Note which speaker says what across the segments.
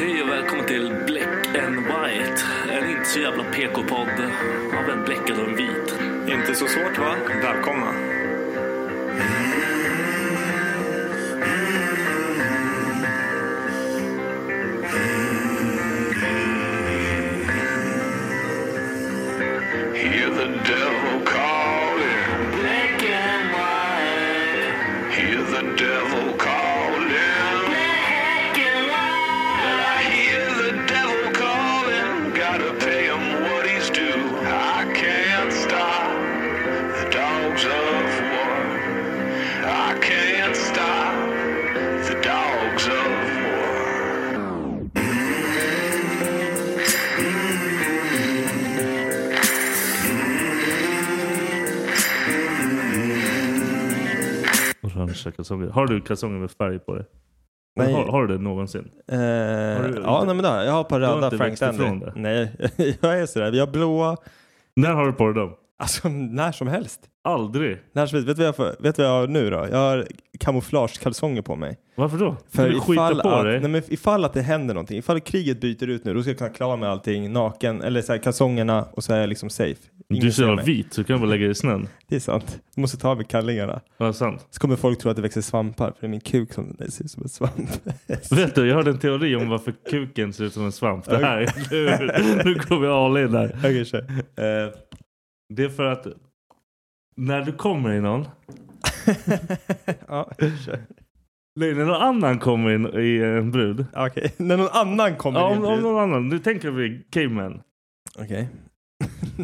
Speaker 1: Hej och välkommen till Black and White. En inte så jävla PK-podd av en bläckad och en vit.
Speaker 2: Inte så svårt va? Välkomna.
Speaker 3: Hear the devil calling. Black and white. Hear the devil calling. Black and white. I hear the devil calling. Gotta pay him what he's due. I can't stop the dogs of war. I can't stop the dogs of war.
Speaker 1: Orangea kalsonger. Har du kalsonger med färg på dig?
Speaker 4: Nej.
Speaker 1: Har, har du det någonsin?
Speaker 4: Eh,
Speaker 1: du-
Speaker 4: ja, nej, men då, jag har ett par
Speaker 1: har
Speaker 4: röda
Speaker 1: inte
Speaker 4: Frank
Speaker 1: växt ifrån
Speaker 4: Stanley.
Speaker 1: det?
Speaker 4: Nej, jag är sådär. Vi har blåa,
Speaker 1: När har du på dig dem?
Speaker 4: alltså när som helst.
Speaker 1: Aldrig.
Speaker 4: När som helst. Vet du vad jag, får, vet du vad jag har nu då? Jag har kamouflagekalsonger på mig.
Speaker 1: Varför då? du vill skita på
Speaker 4: att,
Speaker 1: dig?
Speaker 4: Nej, men ifall att det händer någonting, ifall kriget byter ut nu, då ska jag kunna klara mig allting naken, eller så här, kalsongerna och så är jag liksom safe. Ingen
Speaker 1: du är så
Speaker 4: ser
Speaker 1: jävla
Speaker 4: mig.
Speaker 1: vit så du kan bara lägga dig i snön.
Speaker 4: Det är sant. Jag måste ta av mig kallingarna.
Speaker 1: Ja, sant.
Speaker 4: Så kommer folk tro att det växer svampar, för det är min kuk som det ser ut som en svamp.
Speaker 1: Vet du, jag hörde en teori om varför kuken ser ut som en svamp. Det här, nu, nu går vi all in här.
Speaker 4: Okej, kör. Eh,
Speaker 1: Det är för att när du kommer i någon,
Speaker 4: ja, kör.
Speaker 1: nej, när någon annan kommer in i en brud.
Speaker 4: Okej, när någon annan kommer
Speaker 1: Ja,
Speaker 4: in.
Speaker 1: om, om någon annan, nu tänker vi caveman.
Speaker 4: Okej.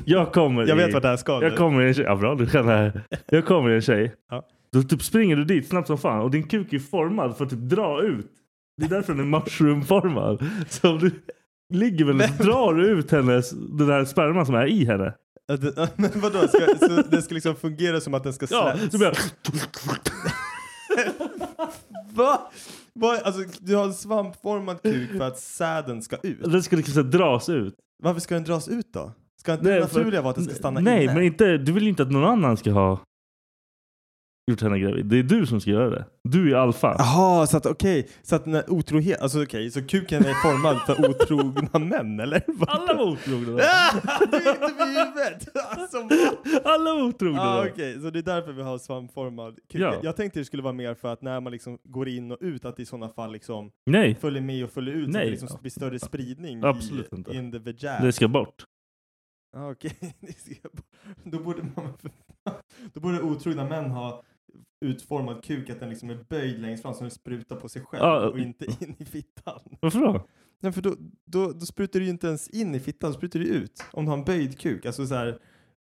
Speaker 1: Jag kommer
Speaker 4: Jag
Speaker 1: i,
Speaker 4: vet vad det här ska.
Speaker 1: Jag kommer i en tjej. Ja, bra, du kan det här. Jag kommer i en tjej.
Speaker 4: Ja.
Speaker 1: Då typ springer du dit snabbt som fan och din kuk är formad för att typ dra ut. Det är därför den är mushroomformad. Så om du ligger väl och drar ut hennes, den där sperman som är i henne.
Speaker 4: Ja, det- Men vadå, ska, så det ska liksom fungera som att den ska
Speaker 1: Ja,
Speaker 4: slä-
Speaker 1: så blir jag...
Speaker 4: Va? Va? Alltså, du har en svampformad kuk för att säden ska ut.
Speaker 1: Den ska liksom så här dras ut.
Speaker 4: Varför ska den dras ut då? Ska inte det
Speaker 1: för-
Speaker 4: naturliga vara att den ska stanna
Speaker 1: Nej,
Speaker 4: inne?
Speaker 1: men inte, du vill ju inte att någon annan ska ha gjort henne gravid. Det är du som ska göra det. Du är alfa.
Speaker 4: Jaha, så att okej, så att när otrohet, alltså okej, så kuken är formad för otrogna män eller? Vad?
Speaker 1: Alla var otrogna.
Speaker 4: Ah, du är inte vid huvudet! Alltså, va?
Speaker 1: Alla var otrogna.
Speaker 4: ah, okej, så det är därför vi har svampformad kuk.
Speaker 1: Ja.
Speaker 4: Jag tänkte det skulle vara mer för att när man liksom går in och ut, att det i sådana fall liksom
Speaker 1: Nej,
Speaker 4: följer med och följer ut så att
Speaker 1: Nej.
Speaker 4: det liksom blir större spridning
Speaker 1: Absolut
Speaker 4: i,
Speaker 1: inte.
Speaker 4: in the vagina.
Speaker 1: det ska bort.
Speaker 4: Ah, okej. Det ska- Då borde man Då borde otrogna män ha utformad kuk, att den liksom är böjd längst fram så den sprutar på sig själv
Speaker 1: Ja.
Speaker 4: och inte in i fittan.
Speaker 1: Varför då?
Speaker 4: Nej för då, då, då sprutar du ju inte ens in i fittan, då sprutar du ut. Om du har en böjd kuk, alltså så här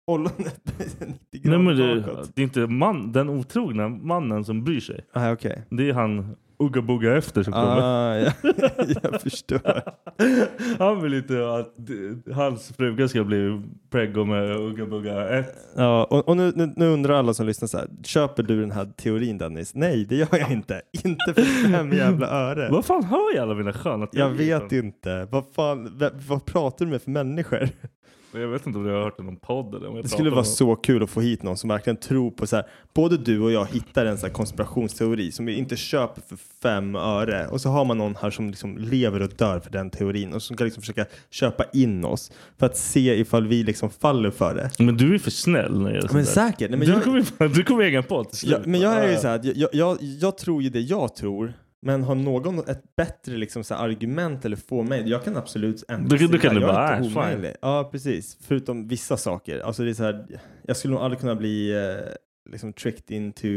Speaker 4: ollonet 90
Speaker 1: Nej, men
Speaker 4: grader
Speaker 1: det,
Speaker 4: bakåt.
Speaker 1: det är inte man, den otrogna mannen som bryr sig.
Speaker 4: Nej, okej.
Speaker 1: Det är han Ugga Bugga efter som kommer.
Speaker 4: Ah, ja. jag förstår.
Speaker 1: Han vill inte att hans fruga ska bli preggo med Ugga Bugga 1.
Speaker 4: Ja, och, och nu, nu, nu undrar alla som lyssnar så här, köper du den här teorin Dennis? Nej, det gör jag inte. Inte för fem jävla öre.
Speaker 1: Vad fan hör jag alla mina sköna
Speaker 4: Jag
Speaker 1: teorier
Speaker 4: vet
Speaker 1: från?
Speaker 4: inte. Vad fan, v- vad pratar du med för människor?
Speaker 1: Jag vet inte om jag har hört i någon podd eller om jag
Speaker 4: Det skulle
Speaker 1: pratar
Speaker 4: vara
Speaker 1: om-
Speaker 4: så kul att få hit någon som verkligen tror på så här. Både du och jag hittar en så här konspirationsteori som vi inte köper för fem öre och så har man någon här som liksom lever och dör för den teorin och som kan liksom försöka köpa in oss för att se ifall vi liksom faller för det.
Speaker 1: Men du är för snäll när det gäller
Speaker 4: Men
Speaker 1: sånt där.
Speaker 4: säkert. Nej, men
Speaker 1: du,
Speaker 4: jag-
Speaker 1: kommer, ju fan- du kommer egen podd till slut. Ah.
Speaker 4: Ja, men jag är ju så här, att jag, jag, jag tror ju det jag tror, men har någon ett bättre liksom så här argument eller få mig, jag kan absolut ändra
Speaker 1: Du kan- du
Speaker 4: sida.
Speaker 1: kan ju
Speaker 4: jag är
Speaker 1: bara,
Speaker 4: inte
Speaker 1: äh,
Speaker 4: omöjlig. Ja, precis. Förutom vissa saker. Alltså det är så här, jag skulle nog aldrig kunna bli eh, liksom tricked into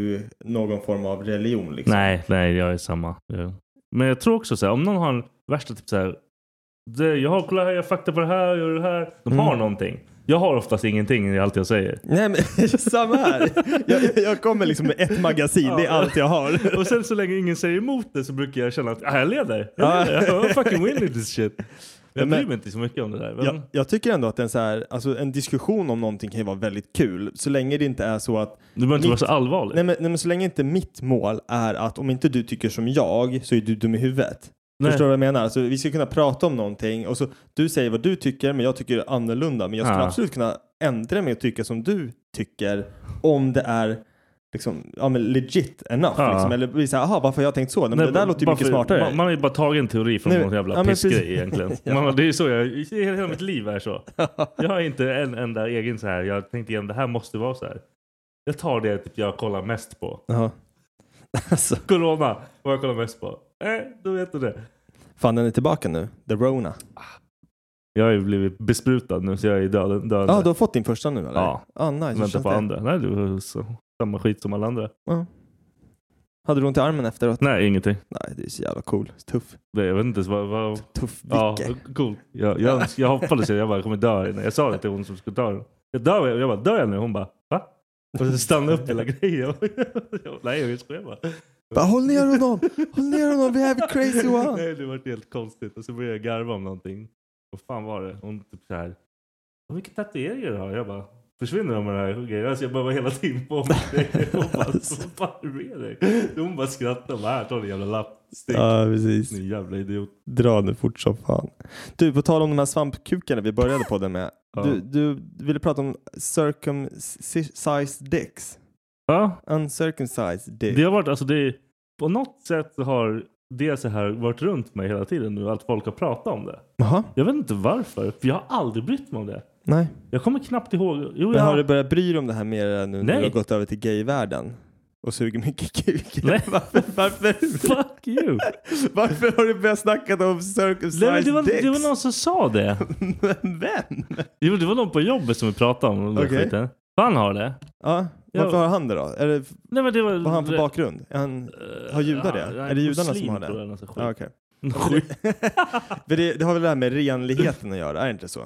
Speaker 4: någon form av religion. Liksom.
Speaker 1: Nej, nej, jag är samma. Ja. Men jag tror också så här, om någon har en värsta typ så här. Det, jag har kolla här, jag har fakta på det här, jag gör det här. De
Speaker 4: Mm.
Speaker 1: har någonting. Jag har oftast ingenting i allt jag säger.
Speaker 4: Nej, men samma här. Jag, jag kommer liksom med ett magasin, det är allt jag har.
Speaker 1: Och sen så länge ingen säger emot det så brukar jag känna att ah, jag leder. Jag leder. I'm fucking winning this shit. Jag
Speaker 4: Men-
Speaker 1: bryr mig inte så mycket om det där. Men,
Speaker 4: Jag, jag tycker ändå att en, så här, alltså en diskussion om någonting kan ju vara väldigt kul, så länge det inte är så att
Speaker 1: du behöver inte vara
Speaker 4: mitt-
Speaker 1: så allvarlig.
Speaker 4: Nej men, nej men så länge inte mitt mål är att om inte du tycker som jag så är du dum i huvudet.
Speaker 1: Nej.
Speaker 4: Förstår du vad jag menar? Alltså, vi ska kunna prata om någonting och så du säger vad du tycker men jag tycker annorlunda. Men jag skulle
Speaker 1: Ja.
Speaker 4: absolut kunna ändra mig och tycka som du tycker om det är liksom, ja, men legit enough.
Speaker 1: Ja.
Speaker 4: Liksom. Eller bli såhär, jaha varför har jag tänkt så? Nej, men
Speaker 1: Nej,
Speaker 4: det där låter ju
Speaker 1: bara
Speaker 4: mycket
Speaker 1: för-
Speaker 4: smartare.
Speaker 1: Man, man har ju bara tagit en teori från
Speaker 4: Nej,
Speaker 1: någon jävla
Speaker 4: ja, men
Speaker 1: pissgrej
Speaker 4: precis.
Speaker 1: egentligen.
Speaker 4: Ja.
Speaker 1: man, det är så jag, hela hela mitt liv är så. Jag har inte en enda egen så här. Jag tänkte igen, det här måste vara så här. Jag tar det typ jag kollar mest på.
Speaker 4: Jaha. Alltså,
Speaker 1: Corona var jag kollar mest på. Eh, då vet du det.
Speaker 4: fan den är tillbaka nu. The Rona.
Speaker 1: Jag har ju blivit besprutad nu så jag är död. död.
Speaker 4: Ja, ah, du har fått din första nu eller?
Speaker 1: Ja.
Speaker 4: Ah, nice. Hur
Speaker 1: Vänta
Speaker 4: känns
Speaker 1: på
Speaker 4: det?
Speaker 1: andra. Nej, du har så, samma skit som alla andra.
Speaker 4: Ja. Hade du ont i armen efteråt?
Speaker 1: Nej, ingenting.
Speaker 4: Nej, det är så jävla cool. Tuff.
Speaker 1: Det, jag vet inte ens vad... vad
Speaker 4: Tuff Vicke.
Speaker 1: ja, cool. Jag, jag, öns- jag hoppades att jag bara kommer dö. innan. Jag sa det till hon som skulle ta den. Jag dör, jag bara, dör jag nu? Hon bara, va? Och så stannade upp hela grejen. Jag bara, Nej, jag skojar bara.
Speaker 4: Bara, håll ner honom! Håll ner honom! Vi have a crazy one!
Speaker 1: Nej, det var helt konstigt. Och så började jag garva om någonting. Vad fan var det? Hon typ så här. "Vad Mycket tatueringar du har. Jag bara. Försvinner de med det här grejen? Alltså jag bara var hela tiden på mig. Hon bara. Vad fan är det med dig? Hon bara skrattade. och Bara, här, ta din jävla lapp. Stick.
Speaker 4: Ja, precis.
Speaker 1: Ni jävla idiot.
Speaker 4: Dra nu fort som fan. Du, på tal om de här svampkukarna vi började podden med.
Speaker 1: Ja.
Speaker 4: Du, du ville prata om circumcised dicks.
Speaker 1: Ja,
Speaker 4: Uncircumcised
Speaker 1: det
Speaker 4: dicks.
Speaker 1: har varit alltså det. På något sätt så har det så här varit runt mig hela tiden nu. Att folk har pratat om det.
Speaker 4: Jaha,
Speaker 1: Jag vet inte varför. För jag har aldrig brytt mig om det.
Speaker 4: nej.
Speaker 1: Jag kommer knappt ihåg. Jo,
Speaker 4: Men
Speaker 1: jag
Speaker 4: har du börjat bry dig om det här mer nu när
Speaker 1: Nej.
Speaker 4: du har gått över till gayvärlden? Och suger mycket kuk?
Speaker 1: Nej.
Speaker 4: Varför, varför,
Speaker 1: Fuck you.
Speaker 4: varför har du börjat snacka om
Speaker 1: Nej, men det,
Speaker 4: circumcised
Speaker 1: var,
Speaker 4: dicks?
Speaker 1: det var någon som sa det.
Speaker 4: Men vem?
Speaker 1: Jo, det var någon på jobbet som vi pratade om. den där
Speaker 4: Okej.
Speaker 1: skiten. Han har det.
Speaker 4: Ja, varför
Speaker 1: Ja.
Speaker 4: har han det då? Är det,
Speaker 1: Nej, men det var,
Speaker 4: vad har han för bakgrund? Är han,
Speaker 1: Eh,
Speaker 4: har judar det?
Speaker 1: ja,
Speaker 4: Är det judarna som har
Speaker 1: muslim,
Speaker 4: det?
Speaker 1: tror jag, någon sån skit.
Speaker 4: Ja, okej.
Speaker 1: Skit.
Speaker 4: För det, det har väl det här med renligheten att göra, är det inte så?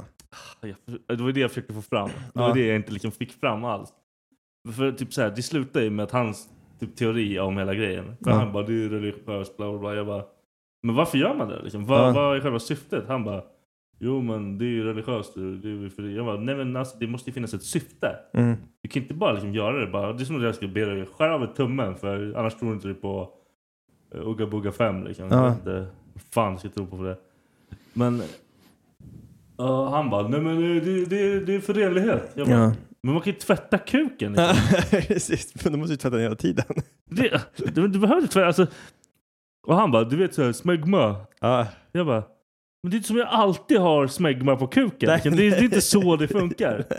Speaker 1: Jag- Det var det jag försökte få fram. Det
Speaker 4: Ja.
Speaker 1: var det jag inte liksom fick fram alls. För typ så här, det slutade ju med att hans typ, teori om hela grejen. För
Speaker 4: Ja.
Speaker 1: Han bara, det är religiöst, bla bla bla. Jag bara, men varför gör man det? Liksom? Vad,
Speaker 4: Ja.
Speaker 1: vad är själva syftet? Han bara, jo men det är ju religiöst. Det är ju för det. Jag bara, nej men alltså, det måste ju finnas ett syfte.
Speaker 4: Mm.
Speaker 1: Du kan inte bara liksom göra det. Bara, det är som att jag skulle be dig skära av tummen för annars tror inte du på uh, Ugga Bugga 5. Liksom. Jag
Speaker 4: Ja.
Speaker 1: vet inte vad fan ska jag tro på för det. Men eh, han bara, nej men eh, det, det, det är förenlighet. Jag bara,
Speaker 4: Ja.
Speaker 1: Men man kan ju tvätta kuken. Liksom.
Speaker 4: Precis, men då måste du tvätta den hela tiden.
Speaker 1: det, du, du behöver inte tvätta. Alltså. Och han bara, du vet såhär smegma.
Speaker 4: Ja.
Speaker 1: Jag bara, men det är inte som jag alltid har smegma på kuken. liksom. det, är- det är inte så det funkar.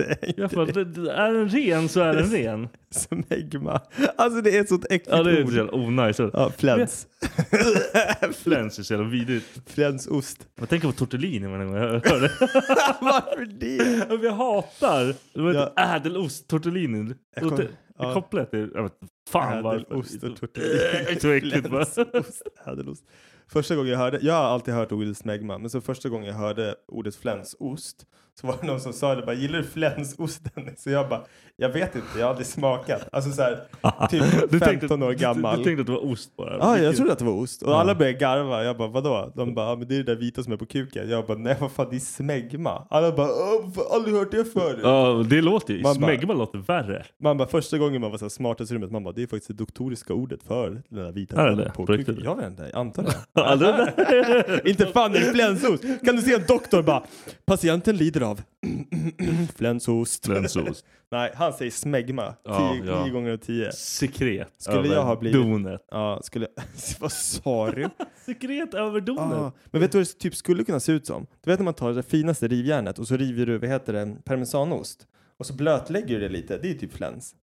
Speaker 4: Nej, det är
Speaker 1: Jag
Speaker 4: inte
Speaker 1: bara, det, det, är den ren så är den ren.
Speaker 4: smegma. Alltså det är ett sånt äckligt
Speaker 1: Ja det är så
Speaker 4: ord.
Speaker 1: jävla onajs.
Speaker 4: Ja, fläns.
Speaker 1: Flens är så jävla vidrigt.
Speaker 4: Flänsost.
Speaker 1: Jag tänker på tortellini varje gång jag hör det.
Speaker 4: Varför det?
Speaker 1: Men Jag hatar det var
Speaker 4: Ja.
Speaker 1: ett ädelost, tortellini.
Speaker 4: Jag kom-
Speaker 1: Jag
Speaker 4: ja.
Speaker 1: kopplat till... Jag vet inte fan varför.
Speaker 4: Ädelost och
Speaker 1: Det är så äckligt va?
Speaker 4: Flänsost, ädelost. Första gången jag hörde, jag har alltid hört ordet smegma, men så första gången jag hörde ordet flänsost Så var det någon som sa det bara, gillar du flänsosten? Så jag bara, jag vet inte, jag har aldrig smakat. Alltså så här, typ 15 år gammal.
Speaker 1: Du, du tänkte att det var ost bara?
Speaker 4: Ja, jag
Speaker 1: Vilket-
Speaker 4: trodde att det var ost. Och
Speaker 1: Ja.
Speaker 4: alla började garva. Jag bara, vadå? De bara, ja, men det är det där vita som är på kuken. Jag bara, nej vad fan, det är smegma. Alla bara, "Åh, fan, aldrig hört det förut.
Speaker 1: Ja, det låter ju.
Speaker 4: Man bara-
Speaker 1: Smegma låter värre.
Speaker 4: Man bara, första gången man var så här smartast i rummet, man bara, det är faktiskt det doktoriska ordet för den där vita
Speaker 1: Är det
Speaker 4: färgen
Speaker 1: det? På
Speaker 4: på kuken.
Speaker 1: riktigt?
Speaker 4: Jag vet inte, jag antar det.
Speaker 1: Ja, det där-
Speaker 4: inte fan är det flänsost. Kan du se en doktor bara, patienten lider av flänsost.
Speaker 1: Flänsost.
Speaker 4: nej, han säger smegma.
Speaker 1: Ja,
Speaker 4: tio,
Speaker 1: ja.
Speaker 4: nio gånger av tio.
Speaker 1: Sekret
Speaker 4: Skulle
Speaker 1: över
Speaker 4: jag ha blivit-
Speaker 1: donet.
Speaker 4: Ja, skulle jag... Vad sa du?
Speaker 1: Sekret över donet.
Speaker 4: Ah, men vet du vad det typ skulle kunna se ut som? Du vet när man tar det finaste rivjärnet och så river du, vad heter det, parmesanost. Och så blötlägger du det lite. Det är typ fläns.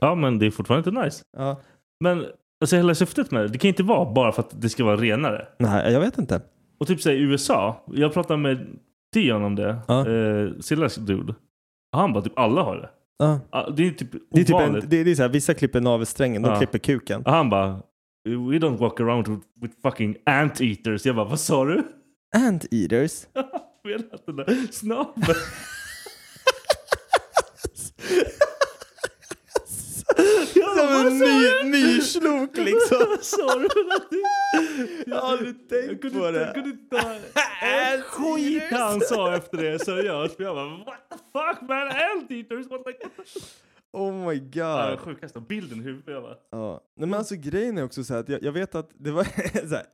Speaker 1: Ja, men det är fortfarande inte nice.
Speaker 4: Ja.
Speaker 1: Men alltså, hela syftet med det, det kan inte vara bara för att det ska vara renare.
Speaker 4: Nej, jag vet inte.
Speaker 1: Och typ säg USA. Jag pratade med Dion om det.
Speaker 4: Ja.
Speaker 1: Eh, Sillas dude. Han bara typ alla har det.
Speaker 4: Ja.
Speaker 1: Ah, Det är typ
Speaker 4: Det är typ
Speaker 1: ovanligt.
Speaker 4: en, det, det är så här, vissa klipper navelsträngen, de
Speaker 1: Ja.
Speaker 4: klipper kuken.
Speaker 1: Och han bara We don't walk around with, with fucking anteaters. Jag bara vad sa du?
Speaker 4: Anteaters.
Speaker 1: Spelat den där snabben. Jag bara,
Speaker 4: Som
Speaker 1: vad
Speaker 4: en
Speaker 1: sa du?
Speaker 4: ny, nyslok liksom.
Speaker 1: Vad sa du?
Speaker 4: Jag har aldrig
Speaker 1: Jag
Speaker 4: tänkt
Speaker 1: kunde
Speaker 4: på
Speaker 1: inte,
Speaker 4: det.
Speaker 1: jag kunde inte ta en skit alltså. han sa efter det seriöst. För jag bara what the fuck man anteaters. What like, what the...
Speaker 4: Oh my
Speaker 1: Ja,
Speaker 4: god.
Speaker 1: Sjukaste bilden i huvudet. Jag bara,
Speaker 4: Ja. Nej, men alltså grejen är också så här att jag, jag vet att det var så här,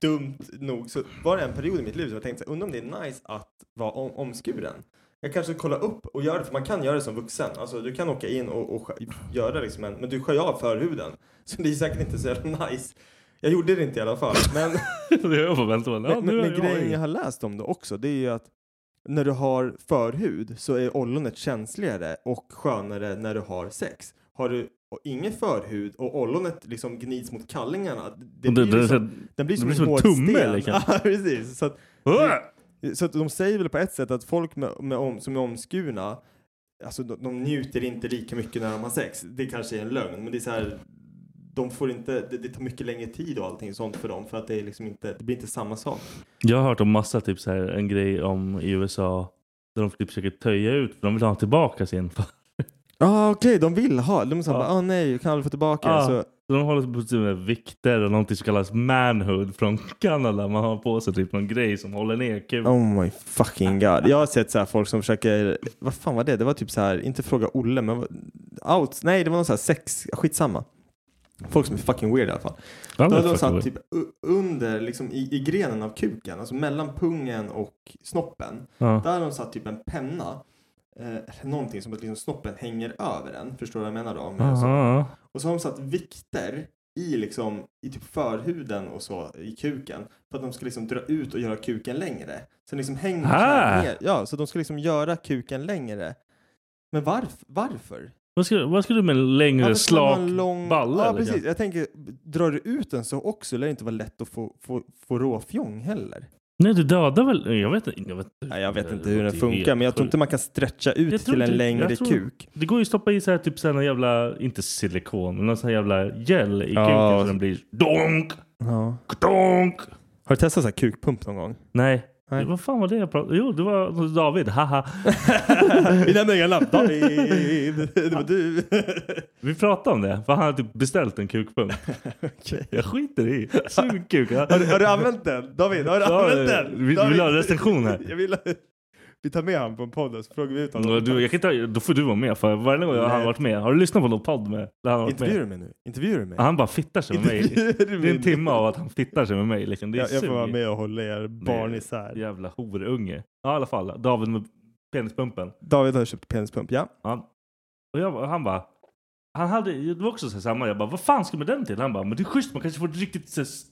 Speaker 4: dumt nog så var det en period i mitt liv som jag tänkte så här, undrar om det är nice att vara om, omskuren. Jag kanske kollar upp och gör det, för man kan göra det som vuxen. Alltså du kan åka in och, och skö- göra liksom en, men du skär ju av förhuden. Så det är säkert inte så jävla nice. Jag gjorde det inte i alla fall. Men
Speaker 1: det har jag förväntat mig. Ja,
Speaker 4: men, men,
Speaker 1: nu är
Speaker 4: men
Speaker 1: jag
Speaker 4: grejen jag
Speaker 1: i.
Speaker 4: har läst om det också, det är ju att när du har förhud så är ollonet känsligare och skönare när du har sex. Har du ingen förhud och ollonet liksom gnids mot kallingarna, det
Speaker 1: Det-
Speaker 4: blir
Speaker 1: det-
Speaker 4: liksom, den blir som en hård
Speaker 1: tumme,
Speaker 4: sten.
Speaker 1: liksom.
Speaker 4: Ja, precis. Så, att,
Speaker 1: Åh!
Speaker 4: så att de säger väl på ett sätt att folk med, med om, som är omskurna, alltså de, de njuter inte lika mycket när de har sex. Det kanske är en lögn, men det är så här, de får inte, det, det tar mycket längre tid och allting sånt för dem för att det är liksom inte, det blir inte samma sak.
Speaker 1: Jag har hört om massa typ så här, en grej om i USA där de typ försöker töja ut för de vill ha tillbaka sin. Så
Speaker 4: Ja ah, okej, de vill ha. De sa
Speaker 1: Ja.
Speaker 4: bara, ah nej, jag kan aldrig få tillbaka Alltså,
Speaker 1: Ja.
Speaker 4: det. Så,
Speaker 1: de håller på sina vikter och någonting som kallas manhood från Kanada. Man har på sig typ någon grej som håller ner kuken.
Speaker 4: oh my fucking god. Jag har sett så här folk som försöker, vad fan var det? Det var typ så här, inte fråga Olle, men vad- out, nej det var någon så här sex, skitsamma. Folk som är fucking weird i alla fall.
Speaker 1: Ja,
Speaker 4: Då
Speaker 1: det
Speaker 4: hade
Speaker 1: fucking
Speaker 4: de satt
Speaker 1: weird.
Speaker 4: typ u- under, liksom i, i grenen av kuken, alltså mellan pungen och snoppen.
Speaker 1: ja.
Speaker 4: Där har de satt typ en penna, eh, någonting som att liksom snoppen hänger över den. Förstår du vad jag menar då? Med alltså. så-
Speaker 1: Aha.
Speaker 4: Och så har de satt vikter i, liksom, i typ förhuden och så i kuken för att de ska liksom dra ut och göra kuken längre. Så den liksom hänger så här
Speaker 1: Ah.
Speaker 4: ner. Ja, så de ska liksom göra kuken längre. Men varf varför?
Speaker 1: Vad, ska, vad ska du med en längre
Speaker 4: Varför ska man ha
Speaker 1: slak
Speaker 4: en lång-
Speaker 1: balla?
Speaker 4: Ja,
Speaker 1: eller?
Speaker 4: precis. Jag tänker, drar du ut den så också lär det inte vara lätt att få, få, få råfjong heller.
Speaker 1: Nej, du dödar väl? Jag vet, inte- jag vet,
Speaker 4: Nej, jag vet
Speaker 1: Det
Speaker 4: inte hur den
Speaker 1: låter ju
Speaker 4: funkar,
Speaker 1: helt
Speaker 4: men jag tror inte
Speaker 1: sjukt.
Speaker 4: man kan stretcha ut
Speaker 1: Jag tror
Speaker 4: till en
Speaker 1: inte-
Speaker 4: längre
Speaker 1: jag tror-
Speaker 4: kuk.
Speaker 1: Det går ju att stoppa i så här, typ så här någon jävla, inte silikon, men någon sån här jävla gel i kuken
Speaker 4: Ja.
Speaker 1: så den blir donk,
Speaker 4: Ja.
Speaker 1: donk.
Speaker 4: Har du testat så här kukpump någon gång?
Speaker 1: Nej.
Speaker 4: Nej.
Speaker 1: Vad fan var det jag pratade Jo, det var David. Haha.
Speaker 4: Vi lämnar inga lapp. David, det var du.
Speaker 1: Vi pratade om det, för han hade typ beställt en kukpung.
Speaker 4: Okej.
Speaker 1: Jag skiter i. Sug kuk. ja.
Speaker 4: Har du, har du använt den? David, har du
Speaker 1: Ja,
Speaker 4: använt den?
Speaker 1: vi- vi
Speaker 4: David.
Speaker 1: vill ha recension här.
Speaker 4: Jag vill, vi tar med han på en podd och så frågar vi ut
Speaker 1: Och
Speaker 4: honom.
Speaker 1: Du, jag kan inte, då får du vara med, för varje gång
Speaker 4: Nej.
Speaker 1: han har varit med. Har du lyssnat på någon podd med? Där han har varit
Speaker 4: Intervjuar
Speaker 1: med?
Speaker 4: du mig nu? Intervjuar du mig?
Speaker 1: Han bara fittar sig med mig.
Speaker 4: Intervjuar du
Speaker 1: Det är
Speaker 4: mig
Speaker 1: en timme
Speaker 4: nu?
Speaker 1: av att han fittar sig med mig. Liksom. Det är
Speaker 4: Jag, jag får vara
Speaker 1: sug.
Speaker 4: med och hålla er barn
Speaker 1: Nej.
Speaker 4: isär.
Speaker 1: Jävla horunge. Ja, i alla fall. David med penispumpen.
Speaker 4: David har köpt penispump, ja.
Speaker 1: Ja. Och jag, och han bara... Han hade, det var också så här samma. Jag bara, vad fan ska med den till? Han bara, men det är schysst. Man kanske får ett riktigt... Så här, s-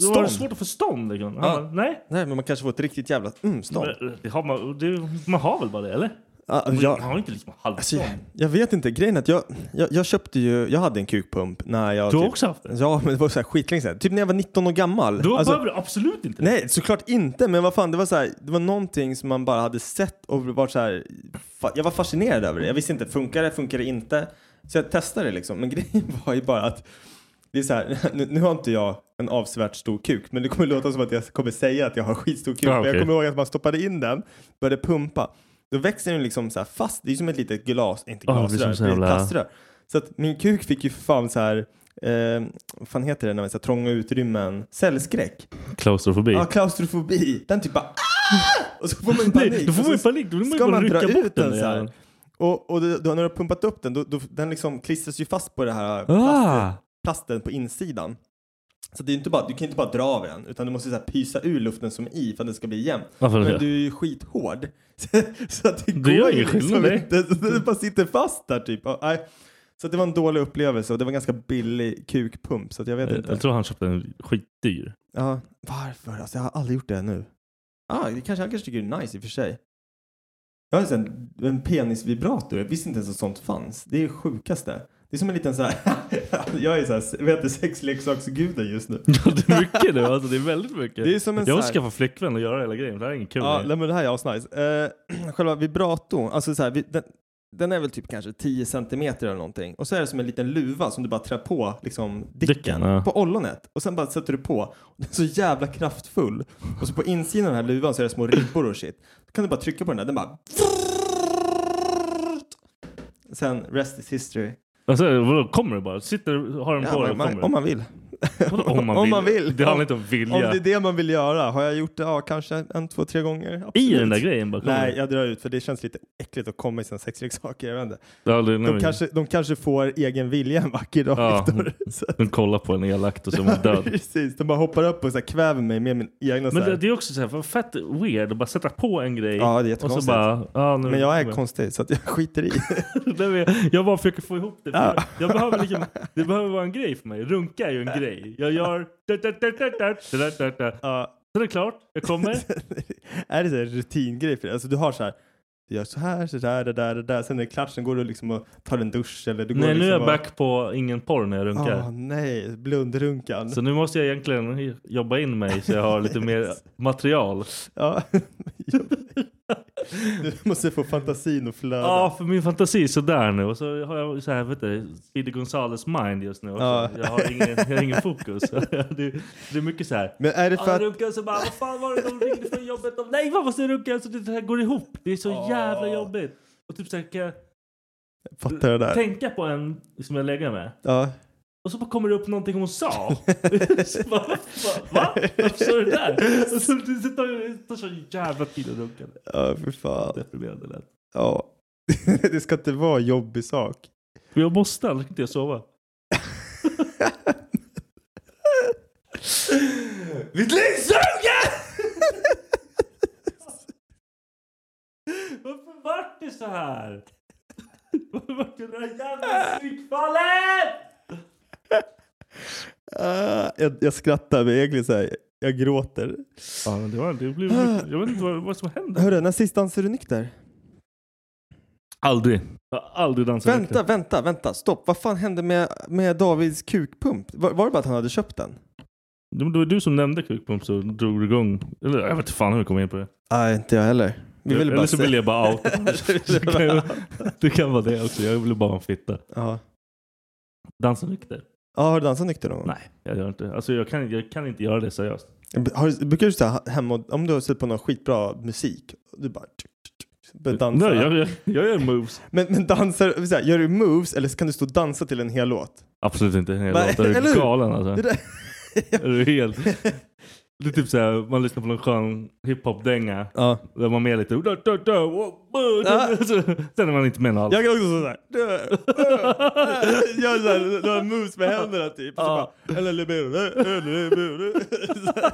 Speaker 1: då har
Speaker 4: Stånd.
Speaker 1: du svårt att få stånd. Liksom. Han
Speaker 4: Ja.
Speaker 1: bara, nej.
Speaker 4: Nej, men man kanske får ett riktigt jävla mm, stånd.
Speaker 1: Men, eh, Det har man, det, man har väl bara det, eller?
Speaker 4: Ja,
Speaker 1: Man
Speaker 4: jag,
Speaker 1: har inte liksom
Speaker 4: alltså,
Speaker 1: halvstånd.
Speaker 4: jag, jag vet inte, grejen är att jag, jag, jag köpte ju, jag hade en kukpump när jag...
Speaker 1: du har
Speaker 4: typ,
Speaker 1: också haft det.
Speaker 4: Ja, men det var så här skitlänge sedan. Typ när jag var 19 år gammal.
Speaker 1: Då
Speaker 4: Alltså-
Speaker 1: behöver du absolut inte det.
Speaker 4: Nej, såklart inte. Men vad fan, det var, så här, det var någonting som man bara hade sett och varit så här. fa- Jag var fascinerad över det. Jag visste inte, funkar det, funkar det inte? Så jag testade det liksom. Men grejen var ju bara att Det är så här, nu, nu har inte jag en avsevärt stor kuk, men det kommer låta som att jag kommer säga att jag har skitstor kuk.
Speaker 1: Ja,
Speaker 4: Men jag
Speaker 1: okej.
Speaker 4: kommer ihåg att man stoppade in den, började pumpa. Då växer den liksom så här fast, det är som ett litet glas, inte
Speaker 1: Ja, det är
Speaker 4: glasrör,
Speaker 1: som så
Speaker 4: det är ett
Speaker 1: jävla-
Speaker 4: plaströr. Så att min kuk fick ju för fan så här, eh, vad fan heter det när man säger trånga utrymmen, cellskräck.
Speaker 1: Klaustrofobi.
Speaker 4: Ja, klaustrofobi. Den typ bara ah! Och så får man ju
Speaker 1: Nej,
Speaker 4: panik.
Speaker 1: då får man ju
Speaker 4: Och så
Speaker 1: panik. Då vill man ju
Speaker 4: ska
Speaker 1: bara
Speaker 4: man dra
Speaker 1: rycka bort
Speaker 4: ut
Speaker 1: den.
Speaker 4: den så här. Och, och då, då när du har pumpat upp den, då, då, den liksom klistras ju fast på det här
Speaker 1: Ah!
Speaker 4: plasten, plasten på insidan. Så det är inte bara, du kan inte bara dra av den, utan du måste så här pysa ur luften som i för att den ska bli jämn.
Speaker 1: Ja, för att-
Speaker 4: Men du är ju skithård. Så, så att det,
Speaker 1: Det
Speaker 4: går
Speaker 1: gör
Speaker 4: ju liksom
Speaker 1: ingen skillnad, nej.
Speaker 4: inte. Så Den bara sitter fast där typ. Ja, nej. Så att det var en dålig upplevelse och det var en ganska billig kukpump så att jag vet
Speaker 1: Eh, Jag,
Speaker 4: inte.
Speaker 1: jag tror han köpte en skitdyr.
Speaker 4: Ja, varför? Alltså jag har aldrig gjort det nu. Ah, det kanske, han kanske tycker det är nice i och för sig. Jag har ju en, en penisvibrator. Jag visste inte ens att sånt fanns. Det är det sjukaste. Det är som en liten så här. jag är så här, vet du, sexleksaksguden just nu.
Speaker 1: Ja, det är mycket nu. Alltså, det är väldigt mycket.
Speaker 4: Det är som en
Speaker 1: jag
Speaker 4: så
Speaker 1: måste
Speaker 4: här-
Speaker 1: skaffa flickvän och göra hela grejen. Det här är ingen kul.
Speaker 4: Ja,
Speaker 1: grej.
Speaker 4: nej, men det här är asnice. Uh, själva vibratorn, alltså så här, vi, den, den är väl typ kanske 10 centimeter eller någonting. Och så är det som en liten luva som du bara trär på liksom dicken,
Speaker 1: Dicken, ja.
Speaker 4: på ollonet. Och sen bara sätter du på. Och Den är så jävla kraftfull. Och så på insidan av den här luvan så är det små ribbor och shit. Då kan du bara trycka på den där, den bara... Sen rest is history.
Speaker 1: Alltså, vadå, kommer det bara? Sitter, har den
Speaker 4: Ja,
Speaker 1: på dig
Speaker 4: man,
Speaker 1: och
Speaker 4: man,
Speaker 1: kommer
Speaker 4: om man vill.
Speaker 1: Vadå, om, man
Speaker 4: om
Speaker 1: vill.
Speaker 4: man vill.
Speaker 1: Det handlar inte om vilja.
Speaker 4: Om det är det man vill göra. Har jag gjort det? Ja, kanske en, två, tre gånger.
Speaker 1: I
Speaker 4: Absolut.
Speaker 1: den där grejen bara kommer
Speaker 4: Nej,
Speaker 1: det.
Speaker 4: jag drar ut för det känns lite äckligt att komma i sina sexleksaker. Jag vet inte.
Speaker 1: Ja, det är
Speaker 4: De,
Speaker 1: nu.
Speaker 4: kanske, de kanske får egen vilja en vacker dag,
Speaker 1: Ja.
Speaker 4: Viktor. Så-
Speaker 1: De kollar på en elakt och så är man död.
Speaker 4: Precis, de bara hoppar upp och så här kväver mig med min egna...
Speaker 1: Men
Speaker 4: så här.
Speaker 1: det, det är också så här, vad fett weird att bara sätta på en grej.
Speaker 4: Ja, det är
Speaker 1: och så
Speaker 4: jättekonstigt.
Speaker 1: bara, ja, nu,
Speaker 4: Men jag är konstig så att jag skiter i.
Speaker 1: Nej, men jag- Jag bara försöker få ihop det. För
Speaker 4: Ja.
Speaker 1: jag behöver liksom, det behöver vara en grej för mig. Runka är ju en grej. Jag gör...
Speaker 4: Ja.
Speaker 1: Sen är det klart, jag kommer.
Speaker 4: är det så här rutingrej för dig? Alltså du har så här, du gör så här, så där, det där, det där. Sen när det är klart, sen går du liksom och tar en dusch eller du går
Speaker 1: Nej,
Speaker 4: liksom
Speaker 1: nu är jag
Speaker 4: och-
Speaker 1: back på ingen porr när jag runkar.
Speaker 4: Ah, nej, blundrunkan.
Speaker 1: Så nu måste jag egentligen jobba in mig så jag har lite mer material.
Speaker 4: Ja. du måste få fantasin att flöda.
Speaker 1: Ja, för min fantasi är sådär nu. Och så har jag så här, vet du, Speedy Gonzales mind just nu. också.
Speaker 4: Ja.
Speaker 1: Jag, har ingen, jag har ingen fokus. det, det är mycket så här.
Speaker 4: Men är det
Speaker 1: Ja,
Speaker 4: för att...
Speaker 1: jag runkar och så bara, vad fan var det de ringde från jobbet? De, Nej, vad måste jag runka? Alltså, det här går ihop. Det är så jävla jobbigt. Och typ så här, kan jag
Speaker 4: Fattar det där?
Speaker 1: tänka på en som jag lägger med.
Speaker 4: Ja.
Speaker 1: Och så bara kommer det upp någonting hon sa. så bara, va? va? Varför sa du det där? Och så, det tar- det tar så jävla tid att runka.
Speaker 4: Ja, för fan.
Speaker 1: Deprimerande lätt.
Speaker 4: Ja. det ska inte vara en jobbig sak.
Speaker 1: Men jag måste, annars kan inte jag sova.
Speaker 4: Mitt liv suger!
Speaker 1: Varför vart det så här? Varför vart det det där jävla psykfallet?
Speaker 4: Ah, jag, jag skrattar men egentligen så här, jag gråter.
Speaker 1: Ja, men det var, det blev, jag vet inte vad, vad som hände.
Speaker 4: Hörru, när sist dansade du nykter?
Speaker 1: Aldrig. Jag har aldrig dansat
Speaker 4: Vänta, vänta, vänta, stopp. Vad fan hände med, med Davids kukpump? Var, var det bara att han hade köpt den?
Speaker 1: Det var det var du som nämnde kukpump så drog du igång. Eller jag vet inte fan hur jag kom in på det.
Speaker 4: Nej, inte jag heller. Vi ville
Speaker 1: Eller
Speaker 4: bara
Speaker 1: så
Speaker 4: se-
Speaker 1: vill jag bara outa. det, kan ju- det kan vara det också. Jag ville bara vara en fitta.
Speaker 4: Ja.
Speaker 1: Dansa nykter?
Speaker 4: Ja, har du dansat nykter någon gång?
Speaker 1: Nej, jag gör inte. Alltså jag kan, jag kan inte göra det seriöst.
Speaker 4: Har, brukar du sitta hemma och, om du har sett på någon skitbra musik, du bara... tsk, tsk, tsk, börjar dansa.
Speaker 1: Nej, jag, jag, jag gör moves.
Speaker 4: Men, men dansar, så här, gör du moves eller så kan du stå och dansa till en hel låt?
Speaker 1: Absolut inte. Jag
Speaker 4: Nej,
Speaker 1: låter
Speaker 4: eller hur?
Speaker 1: galen alltså.
Speaker 4: Det där,
Speaker 1: Är du helt... Det är typ såhär, man lyssnar på någon skön hiphop-dänga.
Speaker 4: ja.
Speaker 1: Där man är med lite... Sen är man inte med någon alls.
Speaker 4: Jag kan också stå såhär. Du, du, Gör såhär, några moves med händerna typ. Och så
Speaker 1: Ja.
Speaker 4: bara, eller, eller, eller, eller, eller. Så här.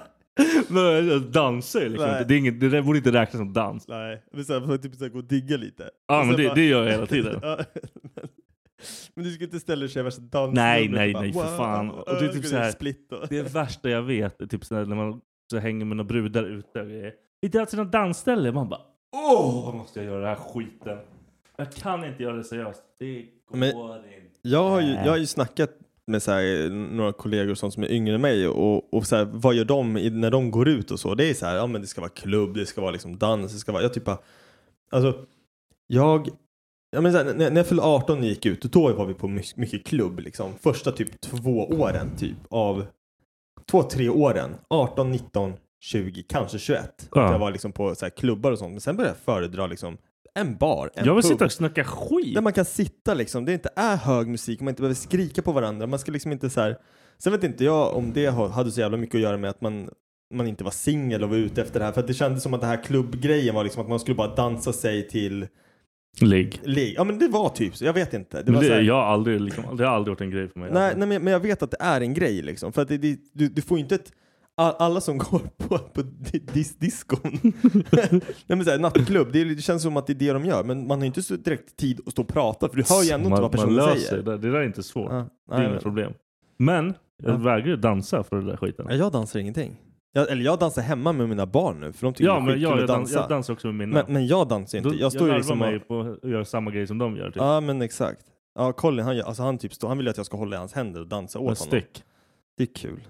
Speaker 1: Nej, jag dansar ju liksom
Speaker 4: Nej.
Speaker 1: inte. Det, är inget, det där borde inte räknas som dans.
Speaker 4: Nej, men så här, får jag typ så här, gå och digga lite.
Speaker 1: Ja,
Speaker 4: Och
Speaker 1: men
Speaker 4: sen
Speaker 1: det- det gör jag hela tiden.
Speaker 4: Ja, men- men du ska inte ställa dig och köra värsta dansnumret.
Speaker 1: Nej,
Speaker 4: och
Speaker 1: nej,
Speaker 4: bara,
Speaker 1: nej, för fan.
Speaker 4: wow,
Speaker 1: Och det är typ
Speaker 4: ska
Speaker 1: så här-
Speaker 4: Split och.
Speaker 1: Det värsta jag vet är typ sådär när man så hänger med några brudar ute och grejer. Vi drar till något dansställe. Man bara åh, vad måste jag göra den här skiten? Jag kan inte göra det seriöst. Det går
Speaker 4: Men-
Speaker 1: inte.
Speaker 4: Jag har
Speaker 1: Eh.
Speaker 4: ju, jag har ju snackat med så här, några kollegor och sånt som är yngre än mig och, och så här, vad gör de i, när de går ut och så? Det är så här, ja men det ska vara klubb, det ska vara liksom dans, det ska vara, jag typ bara, alltså jag Ja, men så här, när, när jag fyllde 18 och gick ut, då var vi på my- mycket klubb. Liksom. Första typ två åren, typ av två, tre åren. 18, 19, 20, kanske 21.
Speaker 1: Ja.
Speaker 4: Att jag var liksom på så här, klubbar och sånt. Men sen började jag föredra liksom, en bar, en
Speaker 1: Jag vill
Speaker 4: pub.
Speaker 1: sitta och snacka skit.
Speaker 4: Där man kan sitta liksom. Det inte är hög musik och man inte behöver skrika på varandra. Man ska liksom inte så här. Sen vet inte jag om det har- hade så jävla mycket att göra med att man man inte var singel och var ute efter det här. För att det kändes som att den här klubbgrejen var liksom att man skulle bara dansa sig till
Speaker 1: Ligg.
Speaker 4: Ligg. Ja men det var typ så, jag vet inte. Det
Speaker 1: Men
Speaker 4: var
Speaker 1: Det,
Speaker 4: så här,
Speaker 1: jag har aldrig, liksom, det har aldrig varit en grej för mig.
Speaker 4: nej, nej men men jag vet att det är en grej liksom. För att det, det, du, du får ju inte ett, all- alla som går på, på di- dis, diskon, nej men så här, nattklubb, det, är- det känns som att det är det de gör. Men man har ju inte så direkt tid att stå och prata för du hör ju ändå inte
Speaker 1: man,
Speaker 4: vad
Speaker 1: man
Speaker 4: personen
Speaker 1: löser
Speaker 4: säger.
Speaker 1: Det, där- det där är inte svårt.
Speaker 4: Ja,
Speaker 1: det
Speaker 4: nej,
Speaker 1: är inget
Speaker 4: men-
Speaker 1: problem. Men jag
Speaker 4: Ja.
Speaker 1: vägrar ju dansa för den där skiten.
Speaker 4: Ja, jag dansar ingenting. Jag, eller jag dansar hemma med mina barn nu för de tycker
Speaker 1: Ja,
Speaker 4: det är
Speaker 1: men
Speaker 4: skitkul
Speaker 1: jag,
Speaker 4: att
Speaker 1: jag, dans,
Speaker 4: dansa.
Speaker 1: jag dansar också med mina.
Speaker 4: men, men jag dansar ju
Speaker 1: Då-
Speaker 4: inte. Jag står ju
Speaker 1: larvar
Speaker 4: liksom och-
Speaker 1: mig på att göra samma grej som de gör. Typ.
Speaker 4: Ja men exakt. Ja Colin han, gör- alltså, han, typ står, han vill ju att jag ska hålla i hans händer och dansa åt
Speaker 1: Med
Speaker 4: honom.
Speaker 1: stick.
Speaker 4: Det är kul.